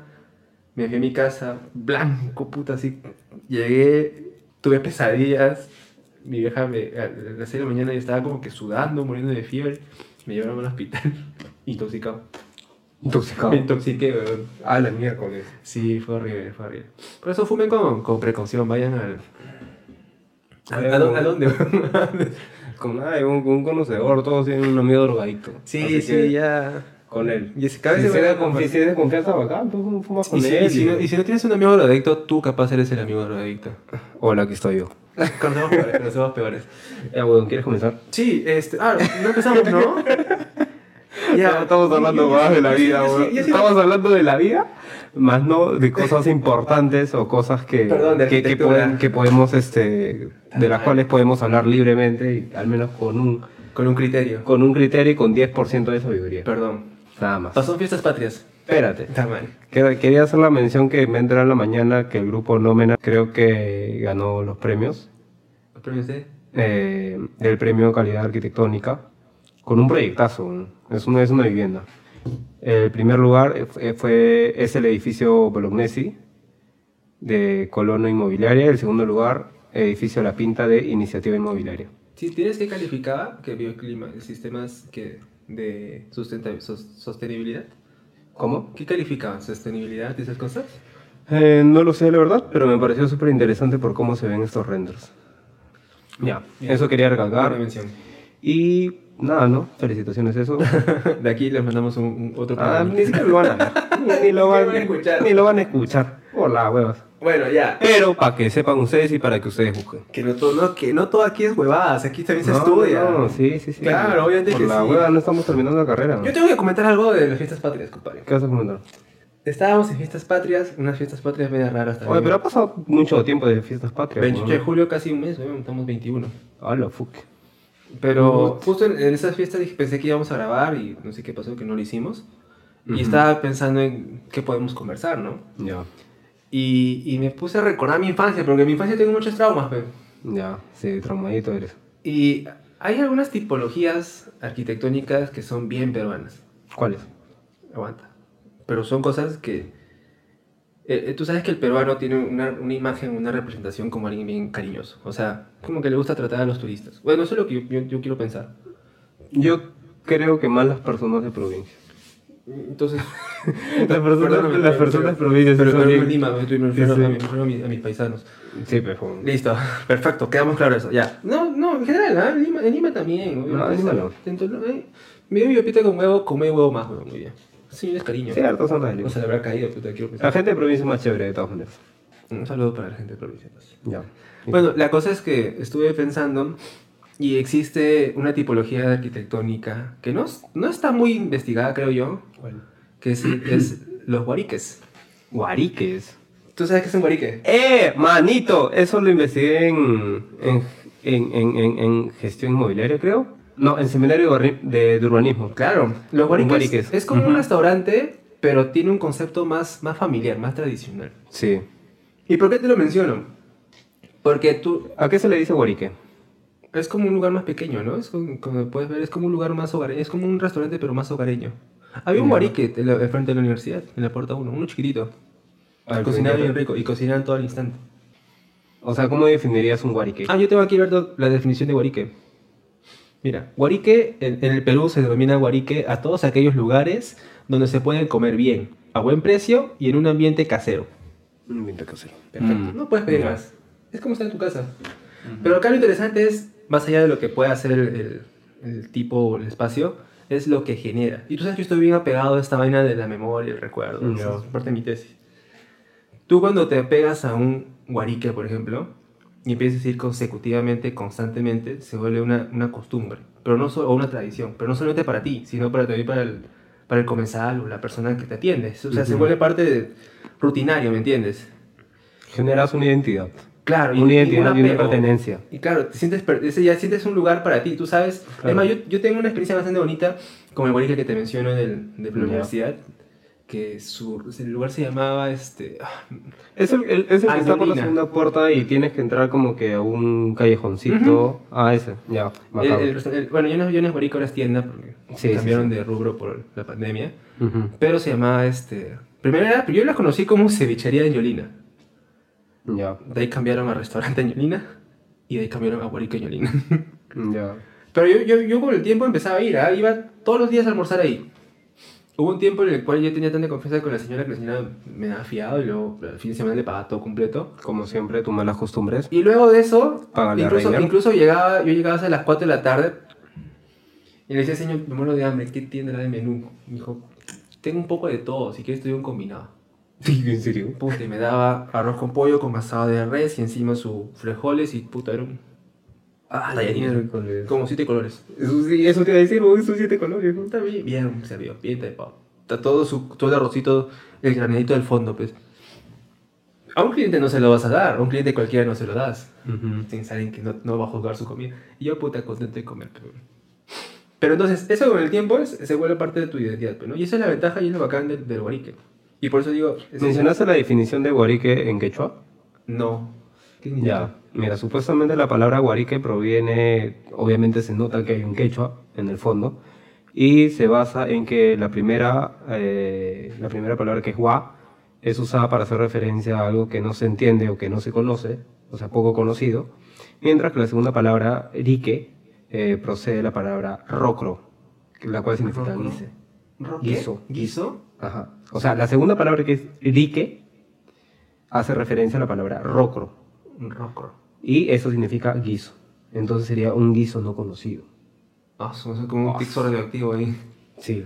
Me fui a mi casa, blanco, puta, así. Llegué, tuve pesadillas. Mi vieja, me, a las 6 de la mañana, yo estaba como que sudando, muriendo de fiebre. Me llevaron al hospital, (laughs) intoxicado. Intoxicado. Me intoxiqué, weón. Ah, la miércoles. Sí, fue horrible, fue horrible. Por eso fumen con, con precaución, vayan al... ¿A, Vayan a dó- con- a (laughs) dónde? Con nadie, un, con un conocedor, todos tienen un amigo drogadicto. Así que ya. Con él. Y si cada vez si se se va- da confi- si tienes confianza bacán, tú fumas con Y si, él. y si no, y si no tienes un amigo drogadicto, tú capaz eres el amigo drogadicto. (laughs) Hola, aquí estoy yo. Conocemos peores, conocemos peores. Ya, weón, ¿quieres comenzar? Sí, este... Ah, no empezamos, (laughs) ¿no? Ya, estamos hablando más de la vida, Yo sí- weón. yo sí- Estamos hablando de la vida, más no de cosas importantes o cosas que, Perdón, de que, que arquitectura. pueden- que podemos, este, de las cuales podemos hablar libremente y al menos con un, Con un criterio. con un criterio y con 10% de sabiduría. Perdón. Nada más. Pasó en fiestas patrias. Espérate. Está mal. Quer- Quería hacer la mención que me entra en la mañana que el grupo Nómena creo que ganó los premios. ¿Los premios de? eh, del premio Calidad Arquitectónica con un proyectazo. ¿no? Es una, es una vivienda. El primer lugar eh, fue, fue- es el edificio Bolognesi de Colono Inmobiliaria. El segundo lugar, edificio La Pinta de Iniciativa Inmobiliaria. Si tienes que calificar que bioclima, sistemas que de sustenta- sos- sostenibilidad. ¿Cómo? ¿Qué calificaban? ¿Sostenibilidad y esas cosas? Eh, no lo sé, la verdad, pero me pareció súper interesante por cómo se ven estos renders. Ya, Bien. eso quería recalcar. Buena mención. (laughs) Y nada, ¿no? Felicitaciones, eso. De aquí les mandamos un, un- otro Ah, programa. ni siquiera lo van a ver. (laughs) Ni lo Ni van, van a escuchar. Ni lo van a escuchar. Hola, huevas. Bueno, ya. Pero para que sepan ustedes y para que ustedes busquen. Que no, todo, no- que no todo aquí es huevadas, aquí también se estudia. No, sí, sí, sí. Claro, obviamente Por que la sí. hueva no estamos terminando la carrera. ¿no? Yo tengo que comentar algo de las fiestas patrias, compadre. ¿Qué vas a comentar? Estábamos en fiestas patrias, unas fiestas patrias medias raras también. Oye, pero ha pasado mucho tiempo de fiestas patrias. 28 de ¿no? julio, casi un mes, weón, estamos 21. Hola, fuck. Pero justo en, en esas fiestas dije, pensé que íbamos a grabar y no sé qué pasó, que no lo hicimos. Ujú. Y estaba pensando en qué podemos conversar, ¿no? Ya, Y, y me puse a recordar mi infancia, porque en mi infancia tengo muchos traumas, pero... ya, sí, traumadito eres. Y hay algunas tipologías arquitectónicas que son bien peruanas. ¿Cuáles? Aguanta. Pero son cosas que... eh, eh, tú sabes que el peruano tiene una, una imagen, una representación como alguien bien cariñoso. O sea, como que le gusta tratar a los turistas. Bueno, eso es lo que yo, yo- yo quiero pensar. Yo creo que más las personas de provincia. Entonces... (laughs) Las personas, perdóname, las pero- personas de pero- provincia Pero son no bien- en Lima, me estoy- me Sí, refiero sí. a, me refiero a mis, a mis paisanos. Sí, pero fue un- Listo, (laughs) perfecto, quedamos claros eso, ya. No, no, en general, ¿ah? en, Lima, en Lima también. obvio, No, en Lima no. Entonces, no, eh, Me dio mi papita con huevo, come huevo más, huevo, muy bien. Sí, es cariño. Cierto, son las de Lima. O sea, le habrá caído, puta, quiero La pensar. gente de provincia es más chévere de todas maneras. Un saludo para la gente de provincia. entonces. Ya. (laughs) Bueno, la cosa es que estuve pensando y existe una tipología arquitectónica que no, es- no está muy investigada, creo yo, (clears throat) que es, es los guariques. Guariques. ¿Tú sabes qué es un guarique? ¡Eh, manito! Eso lo investigué en, en, en, en, en- en gestión inmobiliaria, creo. No, en seminario de, urba- de, de urbanismo. Claro, los guariques, guariques. es como un Ujú. restaurante, pero tiene un concepto más, más familiar, más tradicional. Sí. ¿Y por qué te lo menciono? Porque tú ¿A qué se le dice guarique? es como un lugar más pequeño, ¿no? Es como, como puedes ver, es como un lugar más hogareño, es como un restaurante pero más hogareño. Había un Ya. guarique en la- enfrente de la universidad, en la puerta 1, uno chiquitito. A ver, Cocinaban cuéntame. bien rico y cocinaban todo al instante. O sea, ¿cómo definirías un guarique? Ah, yo tengo aquí Alberto, la definición de guarique. Mira, guarique en, en el Perú se denomina guarique a todos aquellos lugares donde se pueden comer bien, a buen precio y en un ambiente casero. Un invento casero. Perfecto. Mm. No puedes pedir más. Es como estar en tu casa. Pero acá lo interesante es, más allá de lo que puede hacer el, el- el tipo o el espacio, es lo que genera. Y tú sabes que yo estoy bien apegado a esta vaina de la memoria, el recuerdo. Mm, esa ya. Es parte de mi tesis. Tú cuando te pegas a un guarique, por ejemplo, y empiezas a ir consecutivamente, constantemente, se vuelve una, una costumbre, pero no solo, o una tradición, pero no solamente para ti, sino para, también para el, para el comensal o la persona que te atiende. O sea, se Ujú. vuelve parte de- rutinaria, ¿me entiendes? Generas una identidad. Claro, Una un identidad y una apego. pertenencia. Y claro, te sientes, per- ese ya sientes un lugar para ti, tú sabes. Claro. Además, yo, yo tengo una experiencia bastante bonita, como el guarique que te menciono del, de la Ya. universidad, que su, el lugar se llamaba, este, ah, Es el, el- es el que está por la Andolina. segunda puerta y tienes que entrar como que a un callejoncito. Ah, ese. Ya, el- bacán. el resta- el- bueno, yo no, yo no es guarico, ahora es tienda, porque Sí, sí, cambiaron sí. de rubro por la pandemia, Ujú. pero se llamaba, este, primero era, yo la conocí como cevichería de Ñolina, Ya, de ahí cambiaron a restaurante de Ñolina, y de ahí cambiaron a guarico de Ñolina. (laughs) ya. Pero yo, yo, yo con el tiempo empezaba a ir, ¿ah? iba todos los días a almorzar ahí. Hubo un tiempo en el cual yo tenía tanta confianza con la señora que la señora me daba fiado y luego el fin de semana le pagaba todo completo. Como siempre, tus malas (laughs) costumbres. Y luego de eso, Págale a incluso, Reiner. incluso llegaba, yo llegaba a las 4 de la tarde y le decía, señor, me muero de hambre, ¿qué tendrá de menú? Me dijo, tengo un poco de todo, si quieres te doy un combinado. ¿En serio? Puta, y me daba arroz con pollo con asado de res y encima sus frijoles y puta, era un... Ah, tallarines, miércoles. como siete colores. Eso, sí, eso te iba a decir, vos, esos siete colores. ¿no? Está bien, bien servido, bien tapado. Está todo, su, todo el arrocito, el granadito del fondo, pues. A un cliente no se lo vas a dar, a un cliente cualquiera no se lo das. Sin saber que no, no va a juzgar su comida. Y yo, puta, contento de comer, pero... Pero entonces, eso con el tiempo es- se vuelve parte de tu identidad, pues, ¿no? Y esa es la ventaja y es lo bacán del, del guarique. Y por eso digo... es- ¿Mencionaste la definición de guarique en quechua? No. ¿Qué significa? Ya, mira, supuestamente la palabra guarique proviene, obviamente se nota que hay un quechua en el fondo, y se basa en que la primera, eh, la primera palabra que es gua es usada para hacer referencia a algo que no se entiende o que no se conoce, o sea, poco conocido, mientras que la segunda palabra, rique, eh, procede de la palabra rocro, la cual significa Rocro. guise. ¿Ro- qué? Guiso. ¿Guiso? Ajá. O sea, la segunda palabra que es rique hace referencia a la palabra rocro. Rocro. Y eso significa guiso. Entonces sería un guiso no conocido. Ah, eso es como un pixo radioactivo ahí. Sí.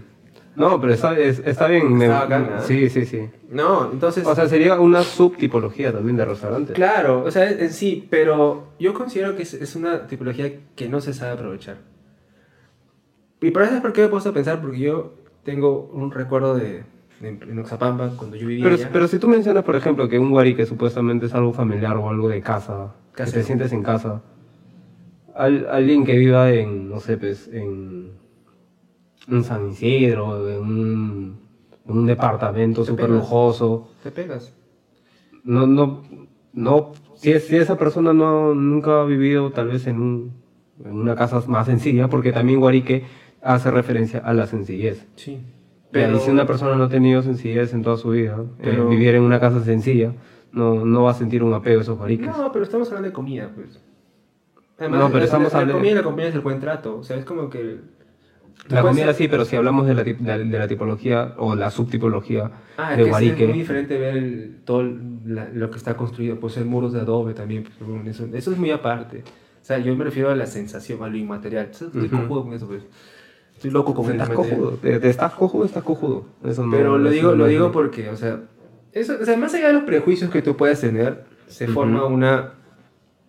No, pero está, es- está bien. me- Está bacán, ¿eh? Sí, sí, sí. No, entonces... O sea, sería una subtipología también de restaurante. Claro, o sea, en sí, pero yo considero que es, es una tipología que no se sabe aprovechar. Y por eso es por qué me he puesto a pensar, porque yo tengo un recuerdo de, de en Oxapampa, cuando yo vivía Pero, allá. pero si tú mencionas, por ejemplo, que un guarique supuestamente es algo familiar o algo de casa, que Casero. te sientes en casa, al- alguien que viva en, no sé, pues, en un San Isidro, en un, en un departamento Te súper pegas. lujoso, te pegas. no, no, no, si, es- si esa persona no, nunca ha vivido tal vez en, un- en una casa más sencilla, porque también Guarique hace referencia a la sencillez. Sí. Pero, si una persona no ha tenido sencillez en toda su vida, eh, Pero- vivir en una casa sencilla, no, no va a sentir un apego a esos guariques. No, pero estamos hablando de comida, pues. No, pero la- estamos la, hablando- La comida y la comida es el buen trato, o sea, es como que... la puede comida ser- sí, pero si hablamos de la, tip- de la- de la tipología o la subtipología Ah, de es que sí, guarique, es muy diferente ver el- todo la- lo que está construido, pues el muros de adobe también, pues, bueno, eso, eso es muy aparte. O sea, yo me refiero a la sensación, a lo inmaterial. ¿sabes? Estoy Ujú. cojudo con eso, pues. Estoy loco con el pues, estás material. cojudo, eh, te, te estás cojudo, estás cojudo. Eso no- Pero lo eso digo, no lo es- digo porque, o sea, eso, o sea, más allá de los prejuicios que tú puedas tener, se Ujú. forma una,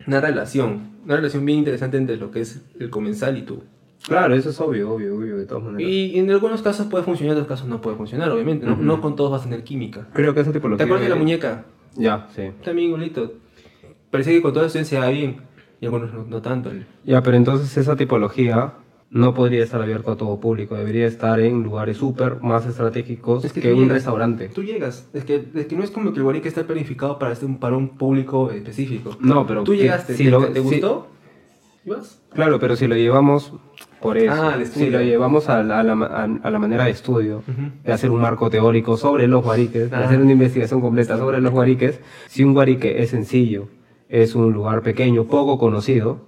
una relación, una relación bien interesante entre lo que es el comensal y tú. Claro, eso es obvio, obvio, obvio, de todas maneras. Y en algunos casos puede funcionar, en otros casos no puede funcionar, obviamente. No, Ujú. no con todos vas a tener química. Creo que esa tipología... ¿Te acuerdas de la de- muñeca? Ya, sí. También igualito. Parecía que con todos los estudiantes se va bien. Y algunos no, no tanto. Ya, pero entonces esa tipología no podría estar abierta a todo público, debería estar en lugares súper más estratégicos Es que que, tú un llegas- restaurante. Tú llegas. Es que, es que no es como que el guarique está planificado para, este, para un público específico. No, Mm, pero Tú que- llegaste, si te, lo- te- te si- gustó? ¿Y vas? Claro, pero si lo llevamos Por eso, Ah, el si estudio. lo llevamos a la, a la ma- a- a la manera de estudio, de hacer un marco teórico sobre los guariques, de Ah. hacer una investigación completa sobre los guariques, si un guarique es sencillo, es un lugar pequeño, poco conocido,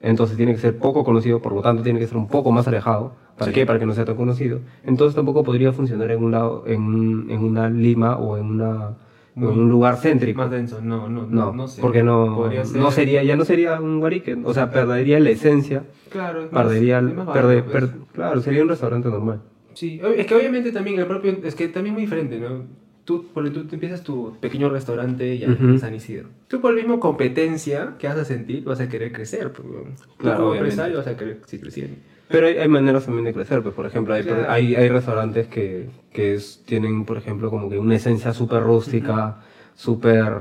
entonces tiene que ser poco conocido, por lo tanto tiene que ser un poco más alejado. ¿Para qué? Para que no sea tan conocido. Entonces tampoco podría funcionar en un lado, en, un- en una Lima o en, una, en un lugar céntrico. Más denso, no, no, No, no, no sé. porque no, Podría ser- no sería, ya no sería un guarique, o sea, perdería la esencia, Claro, es más- perdería, es el- más barato, perde- pues. per- claro, sería un restaurante normal. Sí, ob- es que obviamente también el propio, es que también es muy diferente, ¿no? Tú, por tú te empiezas tu pequeño restaurante ya Ujú. en San Isidro. Tú por la misma competencia que vas a sentir, vas a querer crecer. pues, weón. Tú Claro, como obviamente. empresario vas a querer seguir creciendo. Pero hay, hay maneras también de crecer, pues por ejemplo, hay, Claro. hay, hay restaurantes que, que es- tienen, por ejemplo, como que una esencia súper rústica, súper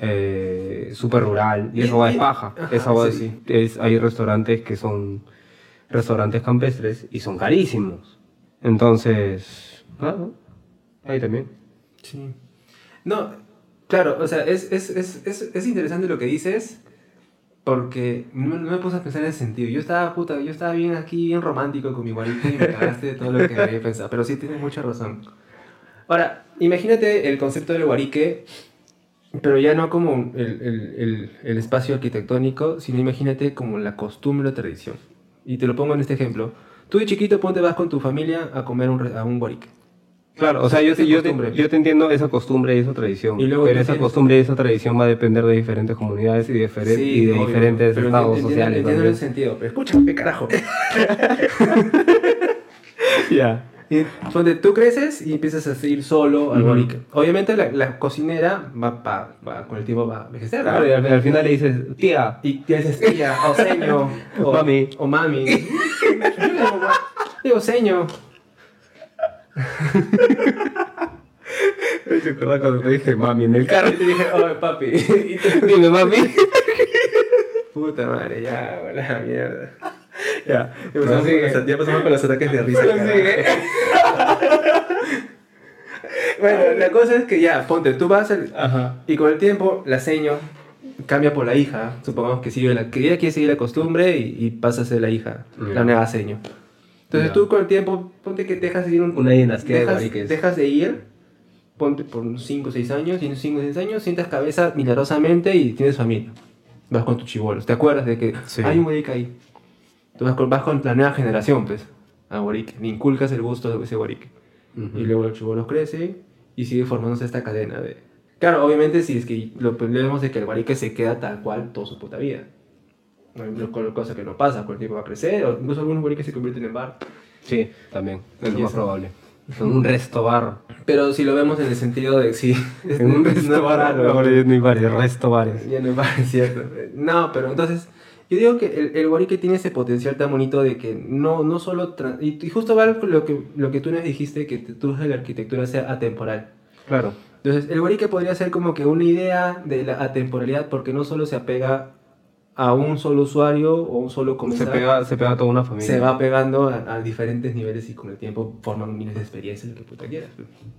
eh, súper rural, y Y- eso va y- es paja. ajá, Esa va- sí, es- hay restaurantes que son restaurantes campestres y son carísimos. Entonces, nada, ahí también. Sí. No, claro, o sea, es, es, es, es, es interesante lo que dices porque no, no me puse a pensar en ese sentido. Yo estaba, puta, yo estaba bien aquí, bien romántico con mi guarita y me cagaste de todo lo que había pensado. Pero sí, tienes mucha razón. Ahora, imagínate el concepto del guarique, pero ya no como el, el- el- el espacio arquitectónico, sino imagínate como la costumbre o tradición. Y te lo pongo en este ejemplo. Tú de chiquito, ponte, vas con tu familia a comer un re- a un guarique. Claro, o sea, yo, Esa te- yo, te, costumbre. yo te entiendo esa costumbre y esa tradición. Y luego pero tú esa tienes- costumbre y esa tradición va a depender de diferentes comunidades y, diferen- Sí, y de obvio, diferentes pero estados entiendo- sociales. Entiendo el también. sentido, pero escúchame, carajo. (laughs) Ya. Y Donde tú creces y empiezas a seguir solo al Ujú. guarique. Obviamente la, la cocinera va, pa- va- con el tiempo va a envejecer. ¿no? Claro, y al, al final le dices, tía, Y te dices tía, o seño, o Mami. O mami. Yo le digo, "Ma- digo seño. ¿te acuerdas cuando te dije mami en el carro? Y te dije, oye papi. (laughs) Y te- Dime mami. Puta madre, ya, a la mierda. ya. Empezamos con los- ya pasamos con los ataques de risa. carajo. (laughs) Bueno, la cosa es que ya, ponte, tú vas al, Ajá. Y con el tiempo, la seño cambia por la hija. Supongamos que sigue la, que ella quiere seguir la costumbre y, y pasa a ser la hija, Ya. la nueva seño. Entonces Ya. tú con el tiempo, ponte que dejas de ir un- Una dinastía de dejas, guariques. dejas de ir, ponte por unos 5 o 6 años, y en 5 o 6 años sientas cabeza milagrosamente y tienes familia. Vas con tus chibolos. ¿Te acuerdas de que Sí. hay un guarique ahí? Tú vas con, vas con la nueva generación, pues, a guarique. Le inculcas el gusto de ese guarique. Y luego el chivolo crece y sigue formándose esta cadena de... Claro, obviamente si es que lo vemos de que el guarique se queda tal cual toda su puta vida. No, co- cosa que no pasa, cualquier tiempo va a crecer, o incluso algunos guariques se convierten en bar. Sí, también. Es lo Y más eso. probable. Son un resto bar. Pero si lo vemos en el sentido (laughs) de si... En un resto bar. no, Ahora ya no hay bares, resto bares. (laughs) Ya no es bar, es cierto. No, pero entonces... Yo digo que el, el guarique tiene ese potencial tan bonito de que no, no solo... tra- Y, y justo va con lo que, lo que tú nos dijiste, que te- tú de la arquitectura sea atemporal. Claro. Entonces, el guarique podría ser como que una idea de la atemporalidad porque no solo se apega a un solo usuario o un solo Se comensal. pega, se pega toda una familia. se va pegando a, a diferentes niveles y con el tiempo forman miles de experiencias, lo que puta quieras.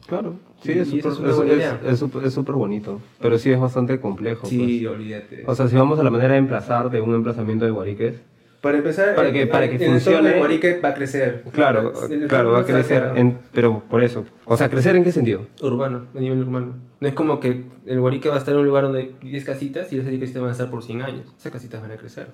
Claro, Y sí, es súper esa es una buena idea. es- es súper- es súper bonito, pero sí es bastante complejo. Sí, olvídate. pues. O sea, si vamos a la manera de emplazar de un emplazamiento de guariques, para empezar, para que- el- para que el entorno funcione- del guarique va a crecer. claro, El eh, claro, va a entorno crecer, está en- pero por eso. O sea, ¿crecer en qué sentido? Urbano, a nivel urbano. No es como que el guarique va a estar en un lugar donde hay 10 casitas y esas 10 casitas van a estar por 100 años. Esas casitas van a crecer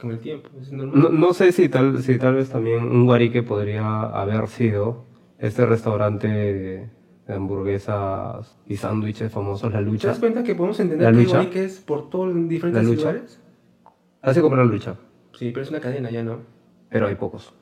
con el tiempo. Es normal. No, no sé si tal, si tal vez también un guarique podría haber sido este restaurante de hamburguesas y sándwiches famosos, La ¿Te Lucha. das cuenta que podemos ¿La entender que lucha? igual que es por todos los diferentes ¿La lucha? lugares? Hace como La Lucha, Sí, pero es una cadena, ya no. pero hay pocos.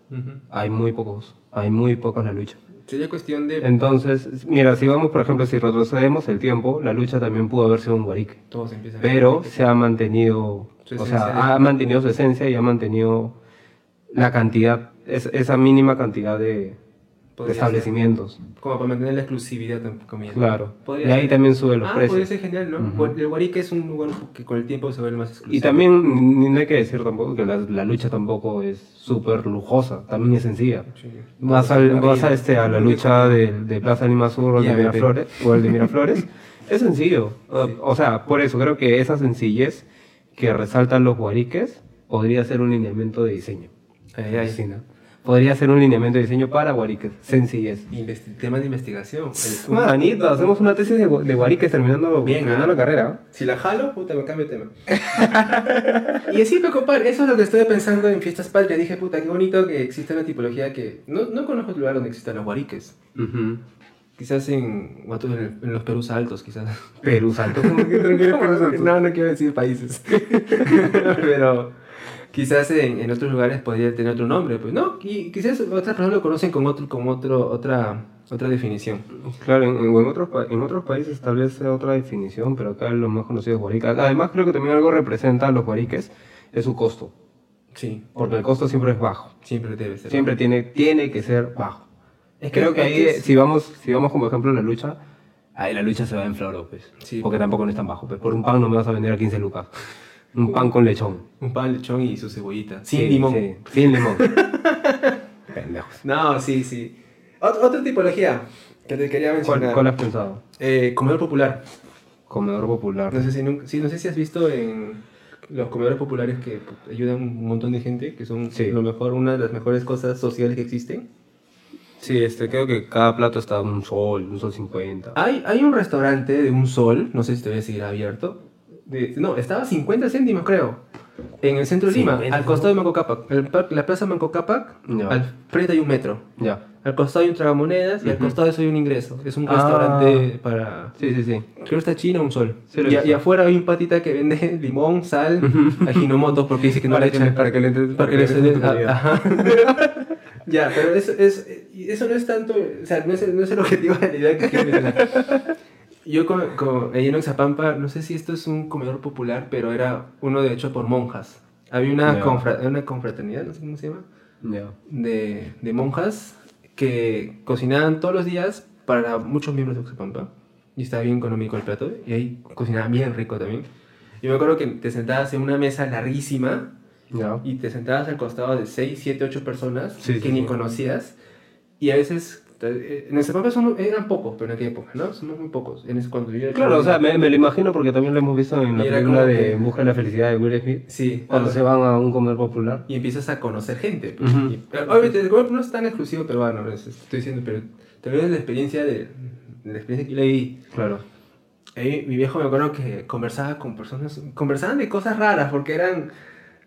Hay muy pocos. Hay muy pocos La Lucha. Sería cuestión de... Entonces, mira, si vamos, por ejemplo, si retrocedemos el tiempo, la lucha también pudo haber sido un guarique. Todos empiezan a- Pero se ha mantenido, Su o esencia. sea, ha mantenido su esencia y ha mantenido la cantidad, es- esa mínima cantidad de, de Podría establecimientos. ser. Como para mantener la exclusividad, entre comillas. Claro. Podría Y ahí ser. también suben los Ah, podría precios. ser genial, ¿no? Ujú. Bueno, El Guarique es un lugar que con el tiempo se vuelve más exclusivo. Y también, ni- no hay que decir tampoco que la, la lucha tampoco es súper lujosa, también es sencilla. Sí. Vas, al- vas a, este, a la lucha de, de Plaza Lima Sur o el Y de a BP. Miraflores. O el de Miraflores. es (laughs) sencillo. O- O sea, por eso creo que esa sencillez que resaltan los guariques podría ser un lineamiento de diseño. Ahí, ahí. Sí, ¿no? Podría ser un lineamiento de diseño para Guariques. Sencillez. Investi- tema de (laughs) investigación. El estudio. Manito, hacemos una tesis de, gu- de Guariques terminando, Bien, terminando ¿ah? la carrera. Si la jalo, puta, me cambio (laughs) de tema. y así, pues, compadre, eso es lo que estoy pensando en Fiestas Patrias. Dije, puta, qué bonito que exista una tipología que... No, no conozco otro lugar donde existan los guariques. ¿no? Quizás en, Guatu- en el- en los Perús (laughs) altos, quizás. Perú Salto. ¿Cómo que te refieres a (laughs) Perú Salto? No, no quiero (laughs) decir países. Pero quizás en, en otros lugares podría tener otro nombre, pues no. Y quizás otras personas lo conocen con otro, con otro, otra, otra definición. Claro, en, en- o en otros, pa- en otros países tal vez sea otra definición, pero acá lo más conocido es Guarica. Además, creo que también algo representa a los Guariques es su costo, Sí, porque el costo siempre es bajo. siempre debe ser. Siempre tiene, tiene que ser bajo. Es creo que es ahí, eh, si vamos, si vamos como ejemplo a la lucha, ahí la lucha se va en floro, pues. Sí. Porque tampoco no es tan bajo, pues. Por un pan no me vas a vender a 15 lucas. Un pan con lechón. Un pan lechón y su cebollita. Sí, Sin limón. sí, sin (laughs) limón. Pendejos. No, sí, sí. Ot- otra tipología que te quería ¿Cuál, mencionar. cuál has pensado? Eh, comedor popular. Comedor popular. No sé, si nunca- sí, no sé si has visto en los comedores populares que pu- ayudan un montón de gente, que son Sí. lo mejor, una de las mejores cosas sociales que existen. Sí, este, creo que cada plato está un sol, un sol 50. Hay, hay un restaurante de un sol, no sé si todavía seguirá abierto. de- no, estaba a 50 céntimos, creo. En el centro de Lima, 50 al costado de Manco Cápac. El par- la plaza Manco Cápac, Ya. al frente hay un metro. Ya. Al costado hay un tragamonedas y al Ujú. costado eso hay un ingreso. Es un Ah. restaurante para. Sí, sí, sí. Creo que está chino un sol. Sí, lo he y, a- visto. y afuera hay un patita que vende (laughs) limón, sal, ajinomotos, porque dice que no Para le que- echan. para que le entre- para que le para que le entre den- tu comida. ah, ajá. (laughs) Ya, pero eso, es, y eso no es tanto. O sea, no es, el- no es el objetivo de la idea que quiero mencionar. Yo, con, con, ahí en Oxapampa, no sé si esto es un comedor popular, pero era uno de hecho por monjas. Había una, Ya. confra- una confraternidad, no sé cómo se llama ah. Ya. de, de monjas que cocinaban todos los días para muchos miembros de Oxapampa. Y estaba bien económico el plato. Y ahí cocinaban bien rico también. Yo me acuerdo que te sentabas en una mesa larguísima Ya. y te sentabas al costado de 6, 7, 8 personas Sí, sí, que ni sí. conocías. Y a veces, eh, en Oxapampa son- eran pocos, pero en aquella época, ¿no? Somos muy pocos. En ese, cuando yo era Claro, o sea, joven, me, me lo imagino porque también lo hemos visto en la Era película como de que- En Busca de la Felicidad de Will Smith. Sí, Cuando algo- se van a un comer popular. y empiezas a conocer gente. pues. Ujú. Y, pero, obviamente, el golf no es tan exclusivo peruano, es- estoy diciendo, pero también es la experiencia de la experiencia que yo le di. Claro. Ahí mi viejo me acuerdo que conversaba con personas, conversaban de cosas raras, porque eran...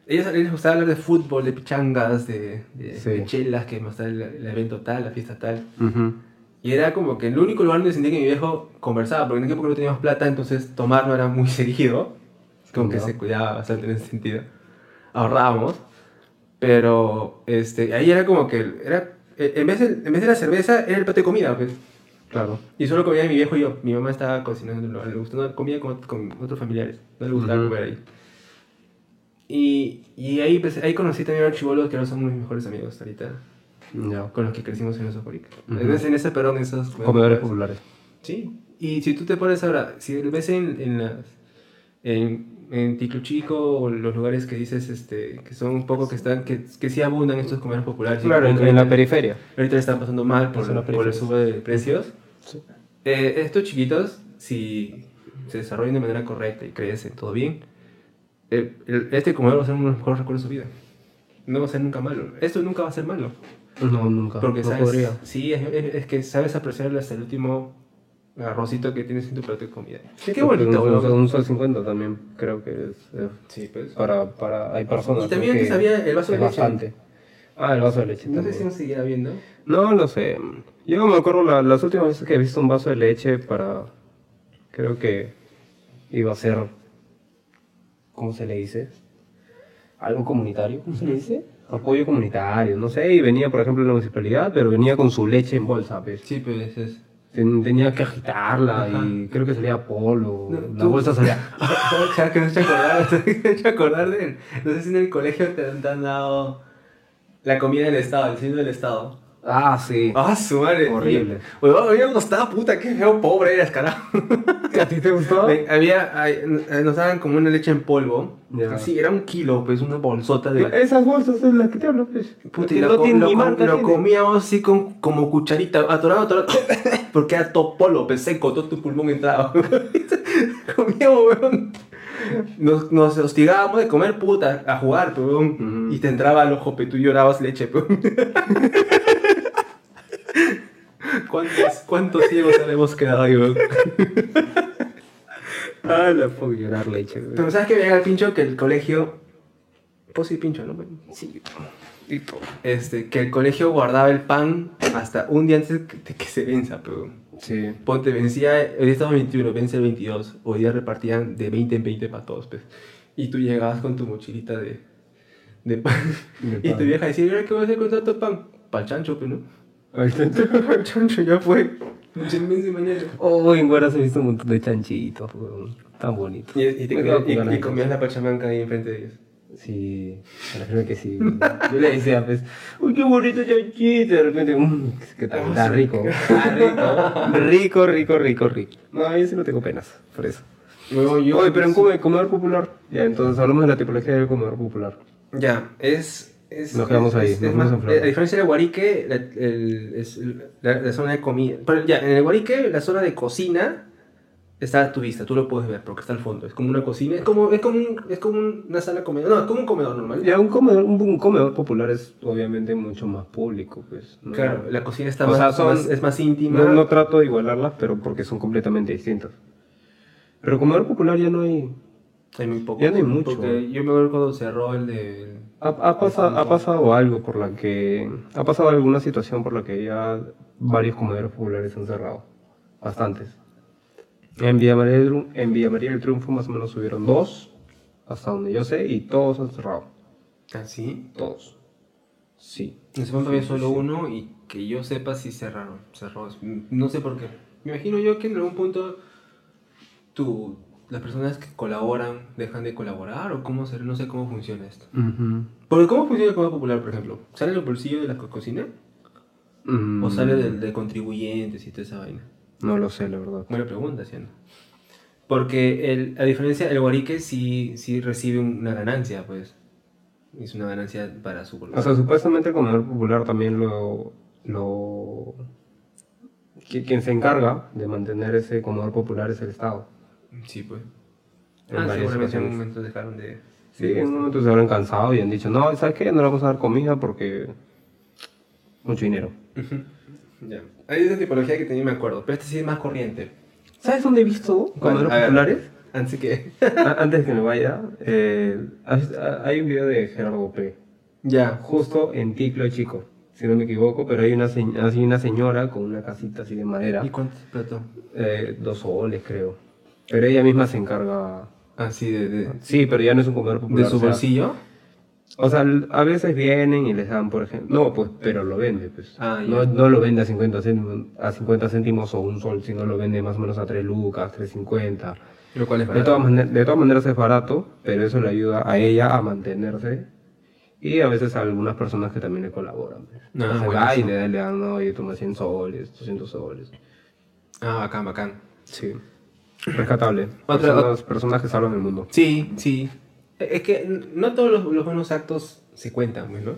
Ellos, a ellos les gustaba hablar de fútbol, de pichangas, de, de, Sí. de chelas, que más el, el evento tal, la fiesta tal. Y era como que el único lugar donde sentía que mi viejo conversaba, porque en aquella época no teníamos plata, entonces tomar no era muy (laughs) seguido. Como que Ya. se cuidaba bastante en ese sentido. Ahorrábamos. Pero este, ahí era como que era, eh, en, vez de, en vez de la cerveza era el plato de comida. pues. Claro. Y solo comía mi viejo y yo. Mi mamá estaba cocinando en un lugar, le gustaba comida con, con otros familiares. No le gustaba Ujú. comer ahí. Y, y ahí, pues, ahí conocí también a los chibolos que ahora son mis mejores amigos hasta ahorita, Ya. con los que crecimos en esos Orica. Ujú. En ese- En ese perón, esos Comedores populares. Sí. Y si tú te pones ahora, si ves en, en las. En, en Ticlo Chico o los lugares que dices este, que son un poco que están que, que sí abundan estos comercios populares. Claro, en, Ahorita- en la periferia. Ahorita le están pasando mal por, Eso en la por el periferia. sube de precios. Eh, estos chiquitos, si se desarrollan de manera correcta y crecen todo bien, eh, el- este comedor va a ser uno de los mejores recuerdos de su vida. No va a ser nunca malo. Esto nunca va a ser malo. No, nunca. Porque no sabes, podría. sí, es, es- es que sabes apreciar hasta el último arrocito que tienes en tu plato de comida. Porque Qué bonito, Un, un, weón. Ah, un sol 50 también creo que es, es Sí, pues. para, para... Hay personas Y también creo antes había el vaso de es leche. bastante. Ah, el vaso de leche No sé también. si nos seguirá viendo. No lo sé. Yo me acuerdo la- las últimas veces que he visto un vaso de leche para. Creo que iba a ser. ¿Cómo se le dice? Algo comunitario, ¿cómo se le dice? Apoyo comunitario, no sé. Y venía, por ejemplo, la municipalidad, pero venía con su leche en bolsa, pues. Sí, pues (laughs) es. Ten- Tenía que agitarla Ajá. y creo que salía polo. No, la tú- bolsa salía. o sea, que me he hecho acordar, (laughs) me he hecho acordar de. No sé si en el colegio te han, te han dado la comida del Estado, el signo del Estado. Ah, sí. Ah, su madre. Horrible. Huevón, a mí me gustaba, puta, qué feo pobre eras, carajo. ¿A ti te gustó? Ven, Había, ay, eh, nos daban como una leche en polvo. Ya. Sí, era un kilo, pues una bolsota de la Esas bolsas es las que te hablo, pues. Puta, Que y lo, no co- tienen lo ni com- marca. lo tienen. comíamos así con, como cucharita, atorado, (coughs) atorado, (laughs) porque era topolo, pensé, con todo tu pulmón entrado. comíamos, weón. Nos, nos hostigábamos de comer puta, a jugar, peón. Ujú. Y te entraba al ojo, pe, tú llorabas leche, pues. peón. (laughs) ¿Cuántos, ¿Cuántos ciegos habíamos quedado ahí, weón? Ah, la puedo llorar leche, güey. Pero ¿sabes que me llega el pincho? Que el colegio... Pues sí, pincho, ¿no? Sí. Y todo. Este, que el colegio guardaba el pan hasta un día antes que- de que se venza, peón. Sí. Ponte, vencía, hoy día estamos 21, vence el 22. Hoy día repartían de 20 en 20 para todos, pues. Y tú llegabas con tu mochilita de, de pan. De y pan. tu vieja decía, "Mira, ¿qué voy a hacer con tanto pan? Pa'l (laughs) chancho, pues, ¿no? Ahí está. Pa'l chancho, ya fue. Se vence mañana. Oh, en Guaras he visto un montón de chanchitos, weón. Tan bonito. Y, y, te Me quedo comías, con y- ganas y de comías la pachamanca ahí enfrente de ellos. Sí, a la primera que sí. Yo le decía, pues, uy, qué bonito chanchito. De repente, mmm, que tal, está rico. Ah, (laughs) Está rico. Rico, rico, rico, rico. No, yo sí no tengo penas por eso. Oye, pero en Cuba hay comedor popular. Ya, entonces hablamos de la tipología del comedor popular. Ya, es... es Nos quedamos es- ahí, es nos más- eh, fuimos en flor. a diferencia del Guarique, la, el- es el- la- la zona de comida. Pero ya, en el Guarique, la zona de cocina está a tu vista, tú lo puedes ver porque está al fondo. Es como una cocina, es como, es como, un- es como una sala comedor. No, es como un comedor normal. Ya, un comedor, un, un comedor popular es obviamente mucho más público, pues. ¿no? Claro, la cocina está O más, sea, son- más- es más íntima. No, no trato de igualarlas, pero porque son completamente distintas. Pero comedor popular ya no hay. hay muy poco. ya no hay mucho. Porque yo me acuerdo cuando cerró el de... Ha, ha pasa- ha pasado algo por la que. Ha pasado alguna situación por la que ya varios comedores populares se han cerrado. Bastantes. En Villa María del, Tru- en Villa María del Triunfo más o menos subieron dos, hasta donde yo sé, y todos han cerrado. ¿Ah, sí? Todos. Sí. En Japón también solo uno y que yo sepa si cerraron, cerró. No sé por qué. Me imagino yo que en algún punto tú, las personas que colaboran dejan de colaborar o cómo ser, no sé cómo funciona esto. Porque cómo funciona el Comedor Popular, por ejemplo. ¿Sale del bolsillo de la co- cocina Mm, o sale del de contribuyentes y toda esa vaina? No lo sé, la verdad. Buena pregunta, haciendo. Porque el, a diferencia, el guarique sí, sí recibe una ganancia, pues. Es una ganancia para su O sea, supuestamente el comedor popular también lo. lo qui- quien se encarga de mantener ese comedor popular es el Estado. Sí, pues. En ah, varias seguramente en ocasiones. algún momento dejaron de... Sí, este, en un momento se habrán cansado y han dicho, no, ¿sabes qué? No le vamos a dar comida porque mucho dinero. Ya. Hay otra tipología que tenía, me acuerdo, pero esta sí es más corriente. ¿Sabes dónde he visto comedores A ver, populares? Antes que... (laughs) A- Antes que me vaya, eh, has- a- hay un video de Gerardo P. ya. Justo en Ticlo Chico, si no me equivoco, pero hay una, se- hay una señora con una casita así de madera, ¿Y cuánto se explotó? eh, dos soles creo. Pero ella misma se encarga... Así Ah, de... de, Sí, pero ya no es un comedor popular. de su o sea, bolsillo. O sea, l- a veces vienen y les dan, por ejemplo. No, pues, pero lo vende, pues. Ah, ya. no, no lo vende a 50 céntimos, a 50 céntimos o un sol, sino lo vende más o menos a 3 lucas, 3.50. Lo cual es De todas, maneras, de todas maneras es barato, pero eso le ayuda a ella a mantenerse. Y a veces a algunas personas que también le colaboran. pues. Ah, Entonces va y buenísimo. le, da- le dan, oye, toma 100 soles, 200 soles. Ah, bacán, bacán. Sí. Rescatable. Otra- personas, personas que salvan el mundo. Sí, sí. Es que n- no todos los, los buenos actos se cuentan, pues, ¿no?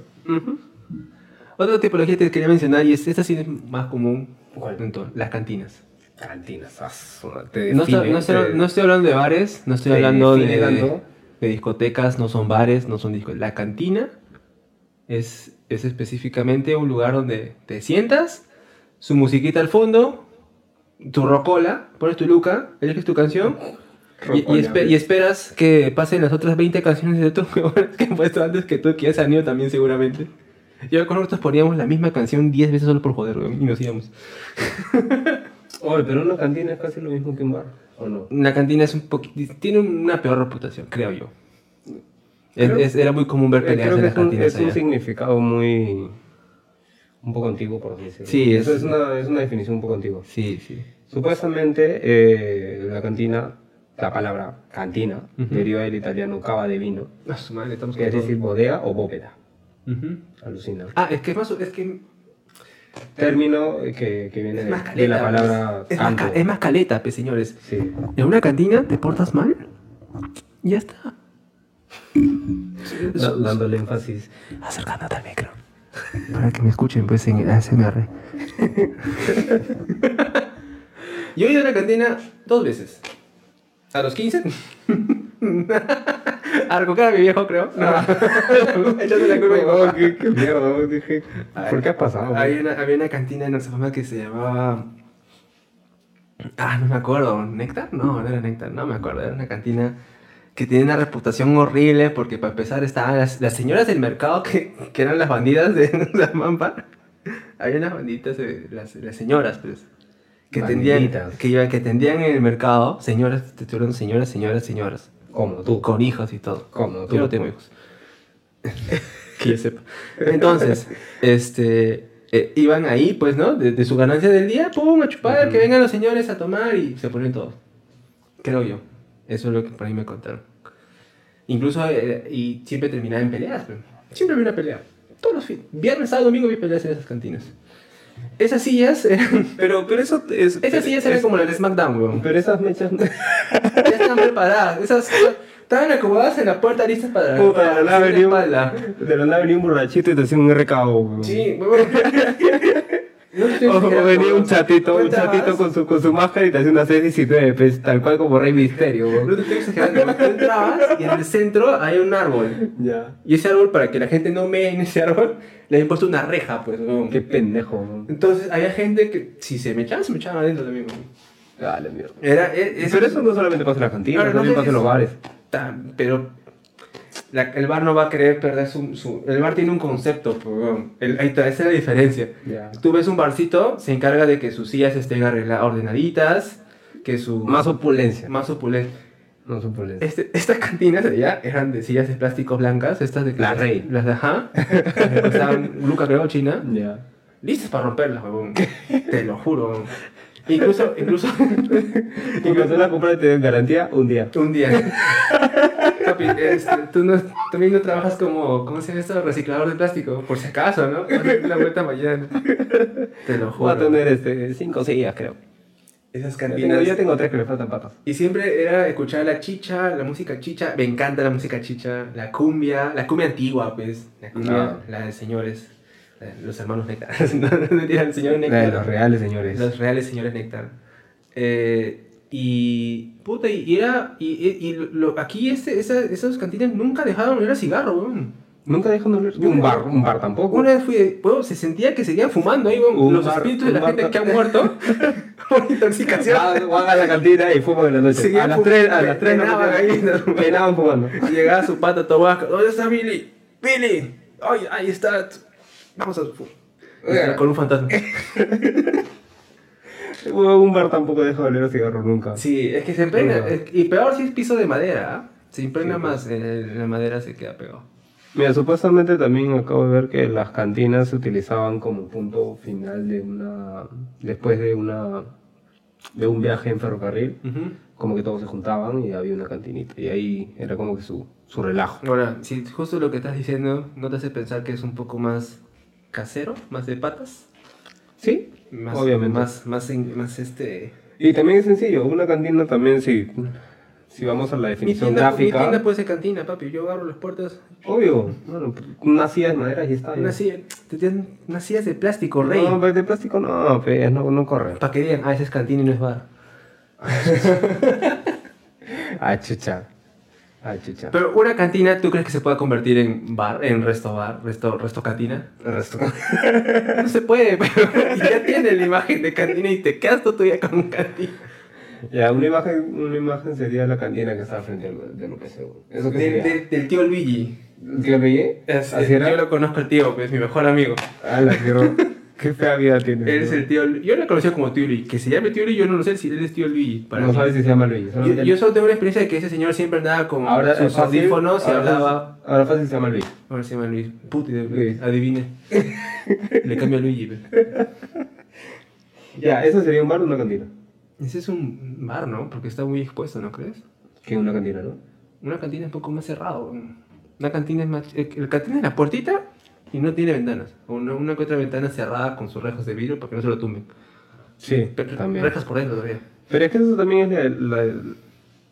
Otra tipología que te quería mencionar, y es, esta sí es más común, ¿Cuál? en todo, las cantinas. Cantinas, as- te No, este, estoy- define, no estoy, te- no estoy hablando de bares, no estoy te hablando define de, tanto. de discotecas, no son bares, no son discotecas. La cantina es, es específicamente un lugar donde te sientas, su musiquita al fondo, tu rocola, pones tu luca, eliges tu canción y, y Rocola, espe- y esperas que pasen las otras 20 canciones de otros (laughs) huevones que han puesto antes que tú, que ya se han ido también seguramente. Yo con nosotros poníamos la misma canción 10 veces solo por joder, weón, y nos íbamos. (laughs) Oye, pero una cantina es casi lo mismo que un bar, ¿o no? La cantina es un poquito. Tiene una peor reputación, creo yo. Es- Creo- eh, es- era muy común ver peleas creo en que las es un, cantinas es un allá. significado muy... Un poco antiguo, por así decirlo. Sí, Eso es- es, una, es una definición un poco antigua. Sí, sí. Supuestamente, eh, la cantina, la palabra cantina, Ujú. deriva del italiano cava de vino, que es decir bodega o bóveda. Ujú. Alucina. Ah, es que es más. Es que. Término eh, que, que viene Es de, más de caleta. la palabra pues. es, más, canto. ca- es más caleta, pues, señores. Sí. En una cantina te portas mal. Ya está. Da- dándole (laughs) énfasis. Acercándote al micro. Para que me escuchen, pues, en el (laughs) ASMR. (laughs) Yo he ido a la cantina dos veces. A los 15 A recoger a mi viejo, creo. No. (laughs) Echándole la culpa a mi Oh, papá. qué, (laughs) qué mierda, güey, dije. Ay, pues, ¿Por qué ha pasado? güey? Hay una, había una cantina en nuestra mamá que se llamaba. Ah, no me acuerdo. ¿Néctar? No, no era Néctar, no me acuerdo. Era una cantina que tenía una reputación horrible porque, para empezar, estaban las, las señoras del mercado que, que eran las bandidas de (laughs) la mampa. Había unas banditas, eh, las, las señoras, pues. Que tendían, Bandiditas. que, iban- que tendían en el mercado, señoras, te estuvieron señoras, señoras, señoras. Como tú. Con hijos y todo. Como tú. Yo no tengo hijos. (laughs) que yo sepa. (laughs) Entonces, este, eh, iban ahí, pues, ¿no? De, de su ganancia del día, pum, a chupar, que vengan los señores a tomar y se ponen todos. Creo yo. Eso es lo que por ahí me contaron. Incluso, eh, y siempre terminaba en peleas. pues. Siempre había una pelea. Todos los fines. Viernes, sábado, domingo había peleas en esas cantinas. Esas sillas eran... Pero, pero eso es. Esas sillas eran como las de SmackDown, weón. Pero esas mechas. Ya están preparadas. Esas estaban acomodadas en la puerta listas para, Puta, para de la nada hacer venía un- espalda. (laughs) De la nada venía un borrachito y te hacía un RKO, güey. Sí, huevón. (laughs) No estoy O exagerando, venía un huevón. chatito, un Cuenta chatito más. con su, con su máscara y te hacía una 619, pues, tal cual como Rey Misterio, No güey. te estoy exagerando. huevón. Tú entrabas y en el centro hay un árbol. Ya. Y ese árbol, para que la gente no mee en ese árbol, le habían puesto una reja, pues, huevón. Qué pendejo, güey. Entonces, había gente que, si se me echaban, se me echaban adentro también, huevón. Ah, la mierda. Era, e- es- Pero eso no solamente pasa en las cantinas, Ahora, no también sé pasa en si- los bares. Tan- pero la- el bar no va a querer perder su... su- el bar tiene un concepto, pues, huevón. El- ahí está, esa es la diferencia. Ya. Tú ves un barcito, se encarga de que sus sillas estén arregladas, ordenaditas, que su... Más opulencia. más opulenta. Más opulencia. Este- estas cantinas de allá eran de sillas de plástico blancas, estas de... que- La Rey. Las de ajá. (laughs) que costaban Luca creo, China. Ya. Listas para romperlas, huevón. Te lo juro, huevón. Incluso, incluso... (laughs) Y cuando la compra de garantía, un día. Un día. Papi, este, tú no, también no trabajas como, ¿cómo se llama esto? Reciclador de plástico, por si acaso, ¿no? Date La vuelta mañana. Te lo Va a juro. tener este, cinco sillas, creo. Esas Yo tengo, yo tengo tres que me faltan patas. Y siempre era escuchar la chicha, la música chicha. Me encanta la música chicha, la cumbia, la cumbia antigua, pues. La cumbia, Ah. la de señores, la de los hermanos Néctar. (laughs) no, no, mentira, el señor La de los Néctar. reales, señores. Los reales señores Néctar. Eh, y. Puta, y era. Y, y- y lo- aquí este, esa- esas cantinas nunca dejaron oler a cigarro, weón. Nunca dejan de oler. Y un bar, un bar tampoco. Una vez fui, weón, se sentía que seguían fumando ahí, weón. Un Los bar- un espíritus de la bar- gente que ha muerto (laughs) por intoxicación. Van, van a la cantina y fuman en la noche. Seguían a las fum- 3, a las 3 penaban ahí. Penaban fumando. Y Llegaba su pata Tobasco. ¿Dónde está Billy? ¡Billy! ¡Ay, ahí está! Vamos a su. Y estaba Con un fantasma. Un bar tampoco deja de oler a cigarro nunca. Sí, es que se impregna. Venga. es- Y peor si es piso de madera. ¿ah? Se impregna Sí, pues. más. eh, la madera se queda pegado. Mira, supuestamente también acabo de ver que las cantinas se utilizaban como punto final de una. después de una. de un viaje en ferrocarril. Como que todos se juntaban y había una cantinita. Y ahí era como que su, su relajo. Ahora, si justo lo que estás diciendo no te hace pensar que es un poco más casero, más de patas. Sí, Más, obviamente. Más, más, en- más este. Y también es sencillo, una cantina también si, si vamos a la Mi definición tienda, mi gráfica. tienda puede ser cantina, papi. Yo abro las puertas. Obvio, bueno, una silla de madera y está. ya. Unas sillas, te tienen unas sillas de plástico, rey. No, pero de plástico no, pues, no, no corre. Para que digan, ah, ese es cantina y no es bar. Ah, chucha. Ah, chucha. Pero una cantina, ¿tú crees que se pueda convertir en bar, en resto bar, resto, resto cantina? El resto. (laughs) No se puede, (laughs) pero ya tiene la imagen de cantina y te quedas todo tu día con cantina. ya, una imagen, una imagen sería la cantina que está al frente del, del UPC. güey. ¿Eso qué Del, sería? del- del tío Luigi. ¿Qué veía? Es- ¿Así Yo era? lo conozco al tío, es mi mejor amigo. Ah, la (laughs) quiero. Qué fea vida tiene. Él es el tío Lu- Yo lo conocía como tío Luigi. Que se llame tío Luigi, yo no lo sé si él es tío Luigi. Para No mí. sabes si se llama Luigi. yo, solamente- yo solo tengo la experiencia de que ese señor siempre andaba con ahora sus fácil- audífonos y ahora- hablaba. Ahora fácil se llama Luigi. Ahora se llama Luis. Puta, Luis. adivine. (laughs) Le cambio a Luigi. pe. Ya, eso sería un bar o una cantina. Ese es un bar, ¿no? Porque está muy expuesto, ¿no crees? Que una cantina, ¿no? Una cantina es un poco más cerrado. Una cantina es más... El el cantina es la puertita y no tiene ventanas. O Una, una que otra ventana cerrada con sus rejas de vidrio para que no se lo tumben. Sí, Pero también. rejas por dentro todavía. Pero es que eso también es la- la-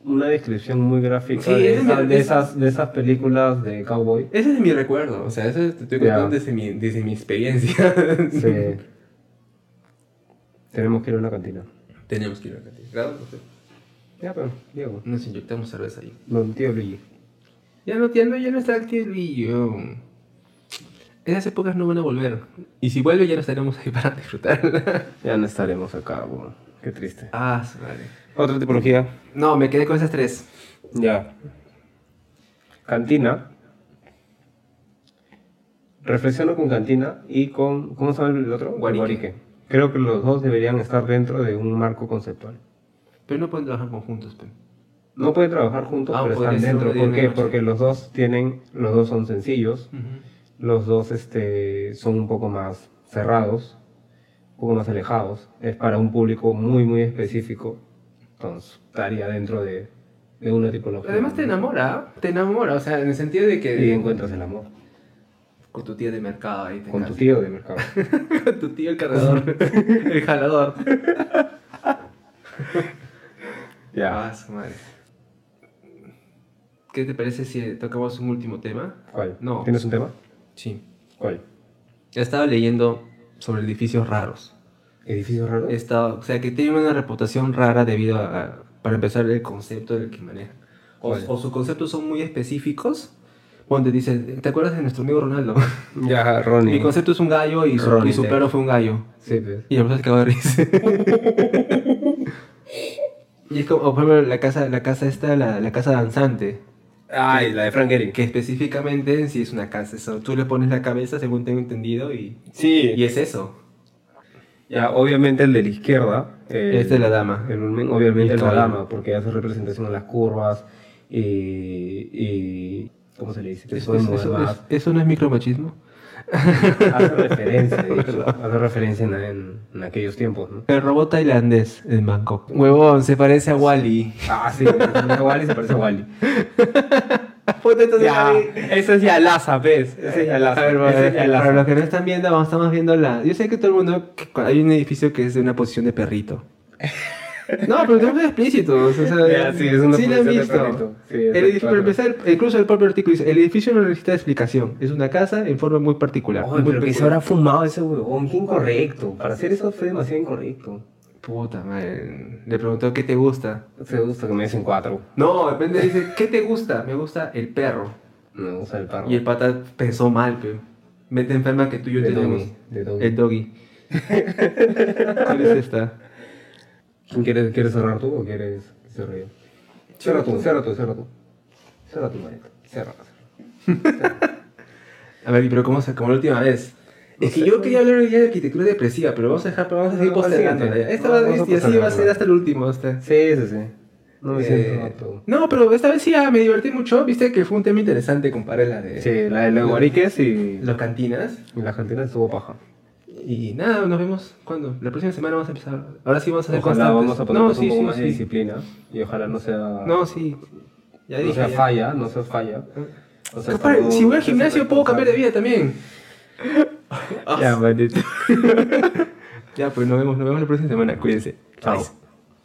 una descripción muy gráfica Sí, de, ese es el- de esas, de esas películas de (laughs) cowboy. Ese es mi recuerdo. O sea, eso te estoy Ya. contando desde, mi, desde mi experiencia. (laughs) Sí. Tenemos que ir a una cantina. Tenemos que ir a la cantina. Claro, no sé. Ya, pero, Diego. Nos inyectamos cerveza ahí. Don tío Luigi. Ya no, ya no, ya no está el tío Luigi, weón. Esas épocas no van a volver. Y si vuelve, ya no estaremos ahí (laughs) para disfrutarla. Ya no estaremos acá, weón. Qué triste. ah, su madre. Otra tipología. No, me quedé con esas tres. Ya. Cantina. Reflexiono con cantina y con. ¿Cómo se llama el otro? Guarique. Creo que los dos deberían estar dentro de un marco conceptual. Pero no pueden trabajar conjuntos, pe. No pueden trabajar juntos, Ah, pero podría están ser dentro. una idea ¿Por de qué? noche. Porque los dos tienen. Los dos son sencillos. Los dos este, son un poco más cerrados. Un poco más alejados. Es para un público muy, muy específico. Entonces, estaría dentro de, de una tipología. Además te enamora, te enamora, o sea, en el sentido de que Y encuentras el amor. con tu tía de mercado ahí te Con tu encanta. tío de (laughs) mercado. (laughs) con tu tío el cargador, (laughs) el jalador. (laughs) ya. Ah, su madre. ¿Qué te parece si tocamos un último tema? ¿Cuál? No. ¿Tienes un tema? Sí. ¿Cuál? He estado leyendo sobre edificios raros. ¿Edificios raros? He estado- o sea, que tienen una reputación rara debido a, para empezar, el concepto del que manejan. O, ¿Cuál? o sus conceptos son muy específicos. Donde dicen, ¿te acuerdas de nuestro amigo Ronaldo? Ya, Ronnie. Mi concepto es un gallo y su, Ronnie y su Tech. perro fue un gallo. Sí, pues. Y el profesor cagó de risa. (laughs) y es como, por ejemplo, la casa, la casa esta, la, la casa danzante. Ay, la de Frank Gehry. Que específicamente si es una casa, eso. Tú le pones la cabeza, según tengo entendido, y, Sí. y es eso. Ya, obviamente el de la izquierda. el- Esta es la dama. Este El Ulmen, obviamente El es la caballo. dama, porque hace representación a las curvas y. y ¿Cómo se le dice? Que Eso, pueden eso- mover este eso- más. eso no es micromachismo. (laughs) Hace referencia, de hecho. ¿Verdad? Hace referencia en, en- en aquellos tiempos, ¿no? El robot tailandés en Bangkok. Huevón, se parece a Wally. Ah, sí, se parece a Wally, se parece a Wally. ya. eso es (laughs) ya Laza, ¿ves? Eso es ya A ver, Laza. para, Eso es ya para Laza. los que no están viendo, vamos, estamos viendo la. Yo sé que todo el mundo. que cu- Hay un edificio que es de una posición (laughs) de perrito. No, pero tenemos explícito. O sea, Ya, sí, es una sí lo han posición de visto. perrito. Sí, es El edificio- claro. para empezar, incluso el propio artículo dice: el edificio no necesita explicación. Es una casa en forma muy particular. Oye, muy pero que se peculiar. habrá fumado ese huevón, qué incorrecto. Para hacer eso fue demasiado incorrecto. Puta madre. Le preguntó: ¿qué te gusta? Se gusta que me dicen cuatro. No, depende. Dice: ¿qué te gusta? Me gusta el perro. Me gusta el perro. Y el pata pensó mal, pero. Mente enferma que tú y yo de tenemos. Doggy. De Doggy. (laughs) El doggy. ¿Cuál es esta? ¿Quieres, ¿Quieres cerrar tú o quieres que cierre yo? Cierra tú, cierra tú, cierra tú. Cierra tú, manito. Cierra. A ver, pero ¿cómo se como la última vez? Es que yo quería hablar hoy día de arquitectura depresiva, pero vamos a dejar, vamos a seguir No, no, postergándola. ya. siguiente. Esta No, va, vamos a y así va a ser postergarla. hasta el último. Hasta. Sí, sí, sí. No me Eh, siento apto. no, pero esta vez sí ah, me divertí mucho. Viste que fue un tema interesante comparé la de Sí, la de los guariques y las cantinas. y la cantina estuvo paja. Y nada, nos vemos cuando. La próxima semana vamos a empezar. Ahora sí vamos a hacer Ojalá constantes. vamos a poner no, un sí, poco sí, más de sí. disciplina y ojalá no sea, No, sí. Ya no dije. sea ya. falla, no sea falla. O sea, Capaz, tampoco- si voy al no sea gimnasio puedo cambiar de irresponsable. vida también. (laughs) Ya, maldito. Ya, pues nos vemos, nos vemos la próxima semana. Cuídense. Chao. Bye.